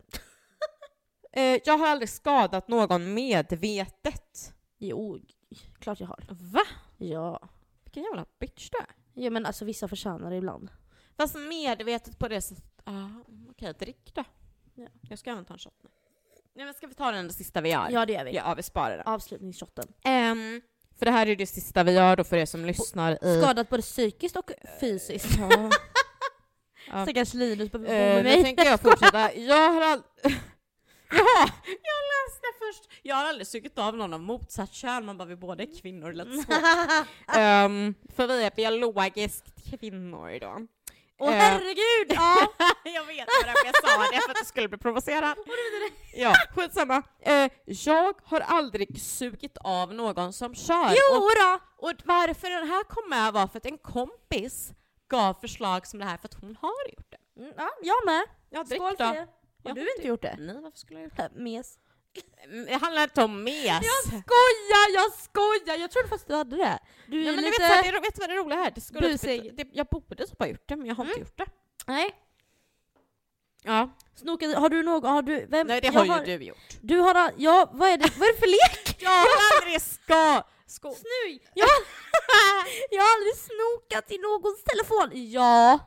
Speaker 1: Eh, jag har aldrig skadat någon medvetet.
Speaker 2: Jo, klart jag har.
Speaker 1: Va?
Speaker 2: Ja.
Speaker 1: Vilken jävla bitch du är.
Speaker 2: Ja men alltså vissa förtjänar det ibland.
Speaker 1: Fast medvetet på det sättet. Ah, Okej, drick då.
Speaker 2: Ja.
Speaker 1: Jag ska även ta en shot nu. Nej men ska vi ta den sista vi gör?
Speaker 2: Ja det gör vi.
Speaker 1: ja vi sparar den.
Speaker 2: Avslutningsshotten.
Speaker 1: Ehm, för det här är det sista vi gör då för er som lyssnar i...
Speaker 2: Skadat både psykiskt och fysiskt.
Speaker 1: Ja. Ja.
Speaker 2: Stackars Linus behöver bo
Speaker 1: Eh,
Speaker 2: med
Speaker 1: nu
Speaker 2: mig.
Speaker 1: tänker jag fortsätta. Jag har aldrig... Jaha! Jag läste först. Jag har aldrig sugit av någon av motsatt kön. Man bara, vi båda är kvinnor, let's go. Ehm, för vi är biologiskt kvinnor idag.
Speaker 2: Åh
Speaker 1: Eh,
Speaker 2: herregud! Ja.
Speaker 1: jag vet det var därför jag sa det, för att du skulle bli provocerad. Ja, skitsamma. Eh, jag har aldrig sugit av någon som kör.
Speaker 2: Jo
Speaker 1: Och,
Speaker 2: då.
Speaker 1: och varför den här kom med var för att en kompis gav förslag som det här för att hon har gjort det.
Speaker 2: Mm, Ja, jag med.
Speaker 1: Ja, drick
Speaker 2: Skål
Speaker 1: då.
Speaker 2: för det. Har
Speaker 1: Ja, typ. Eh,
Speaker 2: du inte
Speaker 1: drick.
Speaker 2: gjort det?
Speaker 1: Nej, varför skulle jag göra
Speaker 2: Äh, Mes.
Speaker 1: Mm, det? Det handlar inte om mes.
Speaker 2: skojar, jag skojar! Jag trodde faktiskt du hade det. Du är
Speaker 1: Nej, men
Speaker 2: lite...
Speaker 1: du vet, vad, det, vet du vad det roliga är? Det skulle
Speaker 2: busig.
Speaker 1: typ, det, jag borde typ ha gjort det, men jag har inte gjort det.
Speaker 2: Nej.
Speaker 1: Ja.
Speaker 2: Snokade, har du någon, har du, vem?
Speaker 1: Nej, det
Speaker 2: jag
Speaker 1: har ju du gjort.
Speaker 2: Du har, ja, vad är det, vad är det för lek?
Speaker 1: Jag har aldrig ska... Skål.
Speaker 2: Snu! Jag, jag har aldrig snokat i någons telefon. Ja.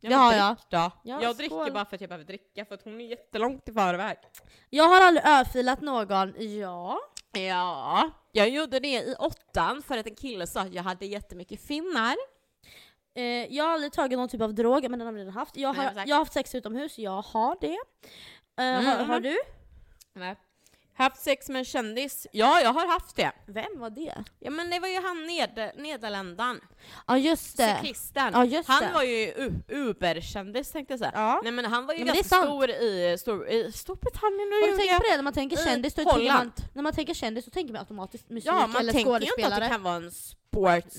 Speaker 1: Ja,
Speaker 2: Det
Speaker 1: men
Speaker 2: har
Speaker 1: drick
Speaker 2: jag.
Speaker 1: Då. jag
Speaker 2: Ja, skål.
Speaker 1: dricker bara för att jag behöver dricka, för att hon är jättelångt i förväg.
Speaker 2: Jag har aldrig örfilat någon. Ja.
Speaker 1: Ja, jag gjorde det i åttan för att en kille sa att jag hade jättemycket finnar.
Speaker 2: Eh, jag har aldrig tagit någon typ av drog, men den har vi redan haft. Jag
Speaker 1: Nej,
Speaker 2: har,
Speaker 1: exakt.
Speaker 2: jag har haft sex utomhus, jag har det. Eh,
Speaker 1: Mm,
Speaker 2: har, har
Speaker 1: mm.
Speaker 2: du?
Speaker 1: Nej. Haft sex med en kändis? Ja, jag har haft det.
Speaker 2: Vem var det?
Speaker 1: Ja, men det var ju han ned, Nederländan,
Speaker 2: Ja just det.
Speaker 1: cyklisten.
Speaker 2: Ja just
Speaker 1: han
Speaker 2: det.
Speaker 1: var ju u- uberkändis tänkte jag säga.
Speaker 2: Ja.
Speaker 1: Nej men han var ju
Speaker 2: Ja, men det är
Speaker 1: ganska
Speaker 2: sant.
Speaker 1: stor i, stor, i Storbritannien och
Speaker 2: Har du tänkt på det när man tänker
Speaker 1: I
Speaker 2: kändis? Då
Speaker 1: Holland.
Speaker 2: tänker man, när man tänker kändis så tänker man automatiskt musik
Speaker 1: Ja, man
Speaker 2: eller
Speaker 1: tänker ju inte att det
Speaker 2: skådespelare.
Speaker 1: kan vara en sportsperson.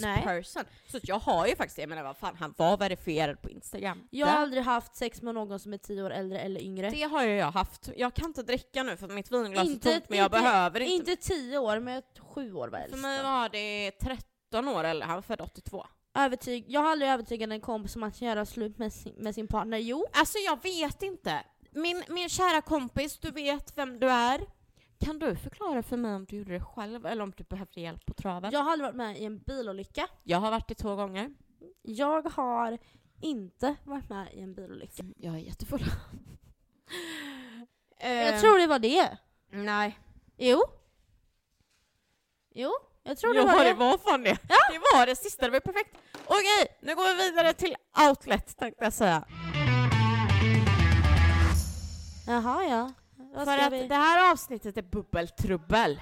Speaker 2: Nej.
Speaker 1: person. Så att jag har ju faktiskt, jag menar vad fan, han var verifierad på Instagram.
Speaker 2: Jag har aldrig haft sex med någon som är tio år äldre eller yngre.
Speaker 1: Det har ju jag haft. Jag kan inte dricka nu för att mitt vinglas
Speaker 2: Inte-
Speaker 1: är tomt men jag
Speaker 2: inte-
Speaker 1: behöver inte.
Speaker 2: Inte tio år, men ett sju år var
Speaker 1: För
Speaker 2: äldst.
Speaker 1: mig var det 13 år eller han var född 82.
Speaker 2: Övertyg, jag har aldrig övertygat en kompis om att göra slut med sin, med sin partner. Jo,
Speaker 1: Alltså jag vet inte. Min, min kära kompis, du vet vem du är. Kan du förklara för mig om du gjorde det själv eller om du behövde hjälp på traven?
Speaker 2: jag har aldrig varit med i en bilolycka.
Speaker 1: Jag har varit det två gånger.
Speaker 2: Jag har inte varit med i en bilolycka.
Speaker 1: Jag är jättefull.
Speaker 2: Jag tror det var det.
Speaker 1: Ehm, Nej.
Speaker 2: Jo. Jo, jag tror det
Speaker 1: ja,
Speaker 2: var det.
Speaker 1: var fan det. Det var det sista, det var perfekt. Okej, nu går vi vidare till outlet tänkte jag säga.
Speaker 2: Jaha, ja. Vad
Speaker 1: För
Speaker 2: ska
Speaker 1: att
Speaker 2: vi?
Speaker 1: det här avsnittet är bubbeltrubbel.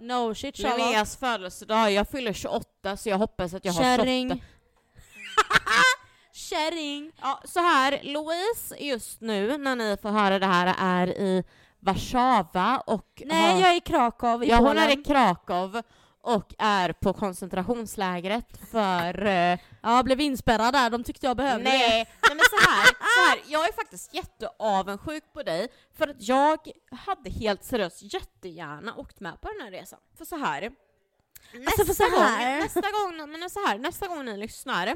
Speaker 2: No shit, Charlotte.
Speaker 1: Linneas födelsedag, jag fyller 28 så jag hoppas att jag har 28.
Speaker 2: Kärring. Kärring.
Speaker 1: Ja, så här, Louise just nu när ni får höra det här är i Warszawa och
Speaker 2: Nej,
Speaker 1: har,
Speaker 2: jag är i Krakow i
Speaker 1: ja, hon
Speaker 2: Polen.
Speaker 1: är i Krakow och är på koncentrationslägret för... eh,
Speaker 2: Ja, blev inspärrad där. De tyckte jag behövde
Speaker 1: nej,
Speaker 2: det.
Speaker 1: nej men så här, så här, jag är faktiskt jätteavundsjuk på dig för att jag hade helt seriöst jättegärna åkt med på den här resan. För så här, nästa,
Speaker 2: Alltså, för så här.
Speaker 1: Gång, nästa, gång, men så här nästa gång ni lyssnar,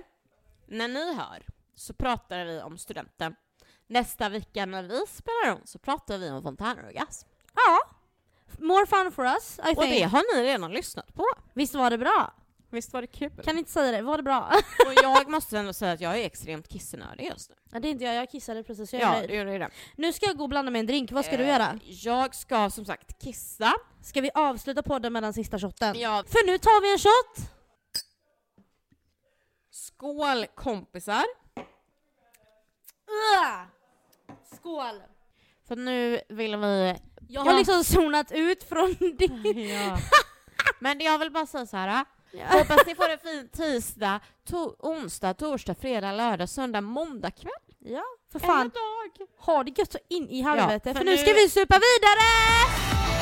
Speaker 1: när ni hör, så pratar vi om studenten. Nästa vecka när vi spelar om så pratar vi om fontänorgasm.
Speaker 2: Ja. More fun for us, I
Speaker 1: Och det
Speaker 2: think.
Speaker 1: har ni redan lyssnat på.
Speaker 2: Visst var det bra?
Speaker 1: Visst var det kul?
Speaker 2: Kan inte säga det, var det bra?
Speaker 1: Och jag måste ändå säga att jag är extremt kissnödig just nu.
Speaker 2: Ja, det är inte jag, jag kissade precis. Jag
Speaker 1: Ja,
Speaker 2: är
Speaker 1: det
Speaker 2: nöjd.
Speaker 1: gjorde ju det.
Speaker 2: Nu ska jag gå och blanda mig en drink, vad ska du
Speaker 1: Eh,
Speaker 2: göra?
Speaker 1: Jag ska som sagt kissa.
Speaker 2: Ska vi avsluta podden med den sista shotten?
Speaker 1: Ja,
Speaker 2: För nu tar vi en shot!
Speaker 1: skål kompisar!
Speaker 2: Ugh. Skål!
Speaker 1: Så nu vill vi...
Speaker 2: Jag har
Speaker 1: Ja.
Speaker 2: liksom zonat ut från ditt...
Speaker 1: Ja. Men jag vill bara säga så här.
Speaker 2: Ja.
Speaker 1: Hoppas ni får en fin tisdag, to- onsdag, torsdag, fredag, lördag, söndag, måndag kväll.
Speaker 2: ja, för
Speaker 1: Eller
Speaker 2: fan.
Speaker 1: dag.
Speaker 2: Ha det gött så in i helvete,
Speaker 1: för
Speaker 2: för nu
Speaker 1: nu-
Speaker 2: ska vi supa vidare!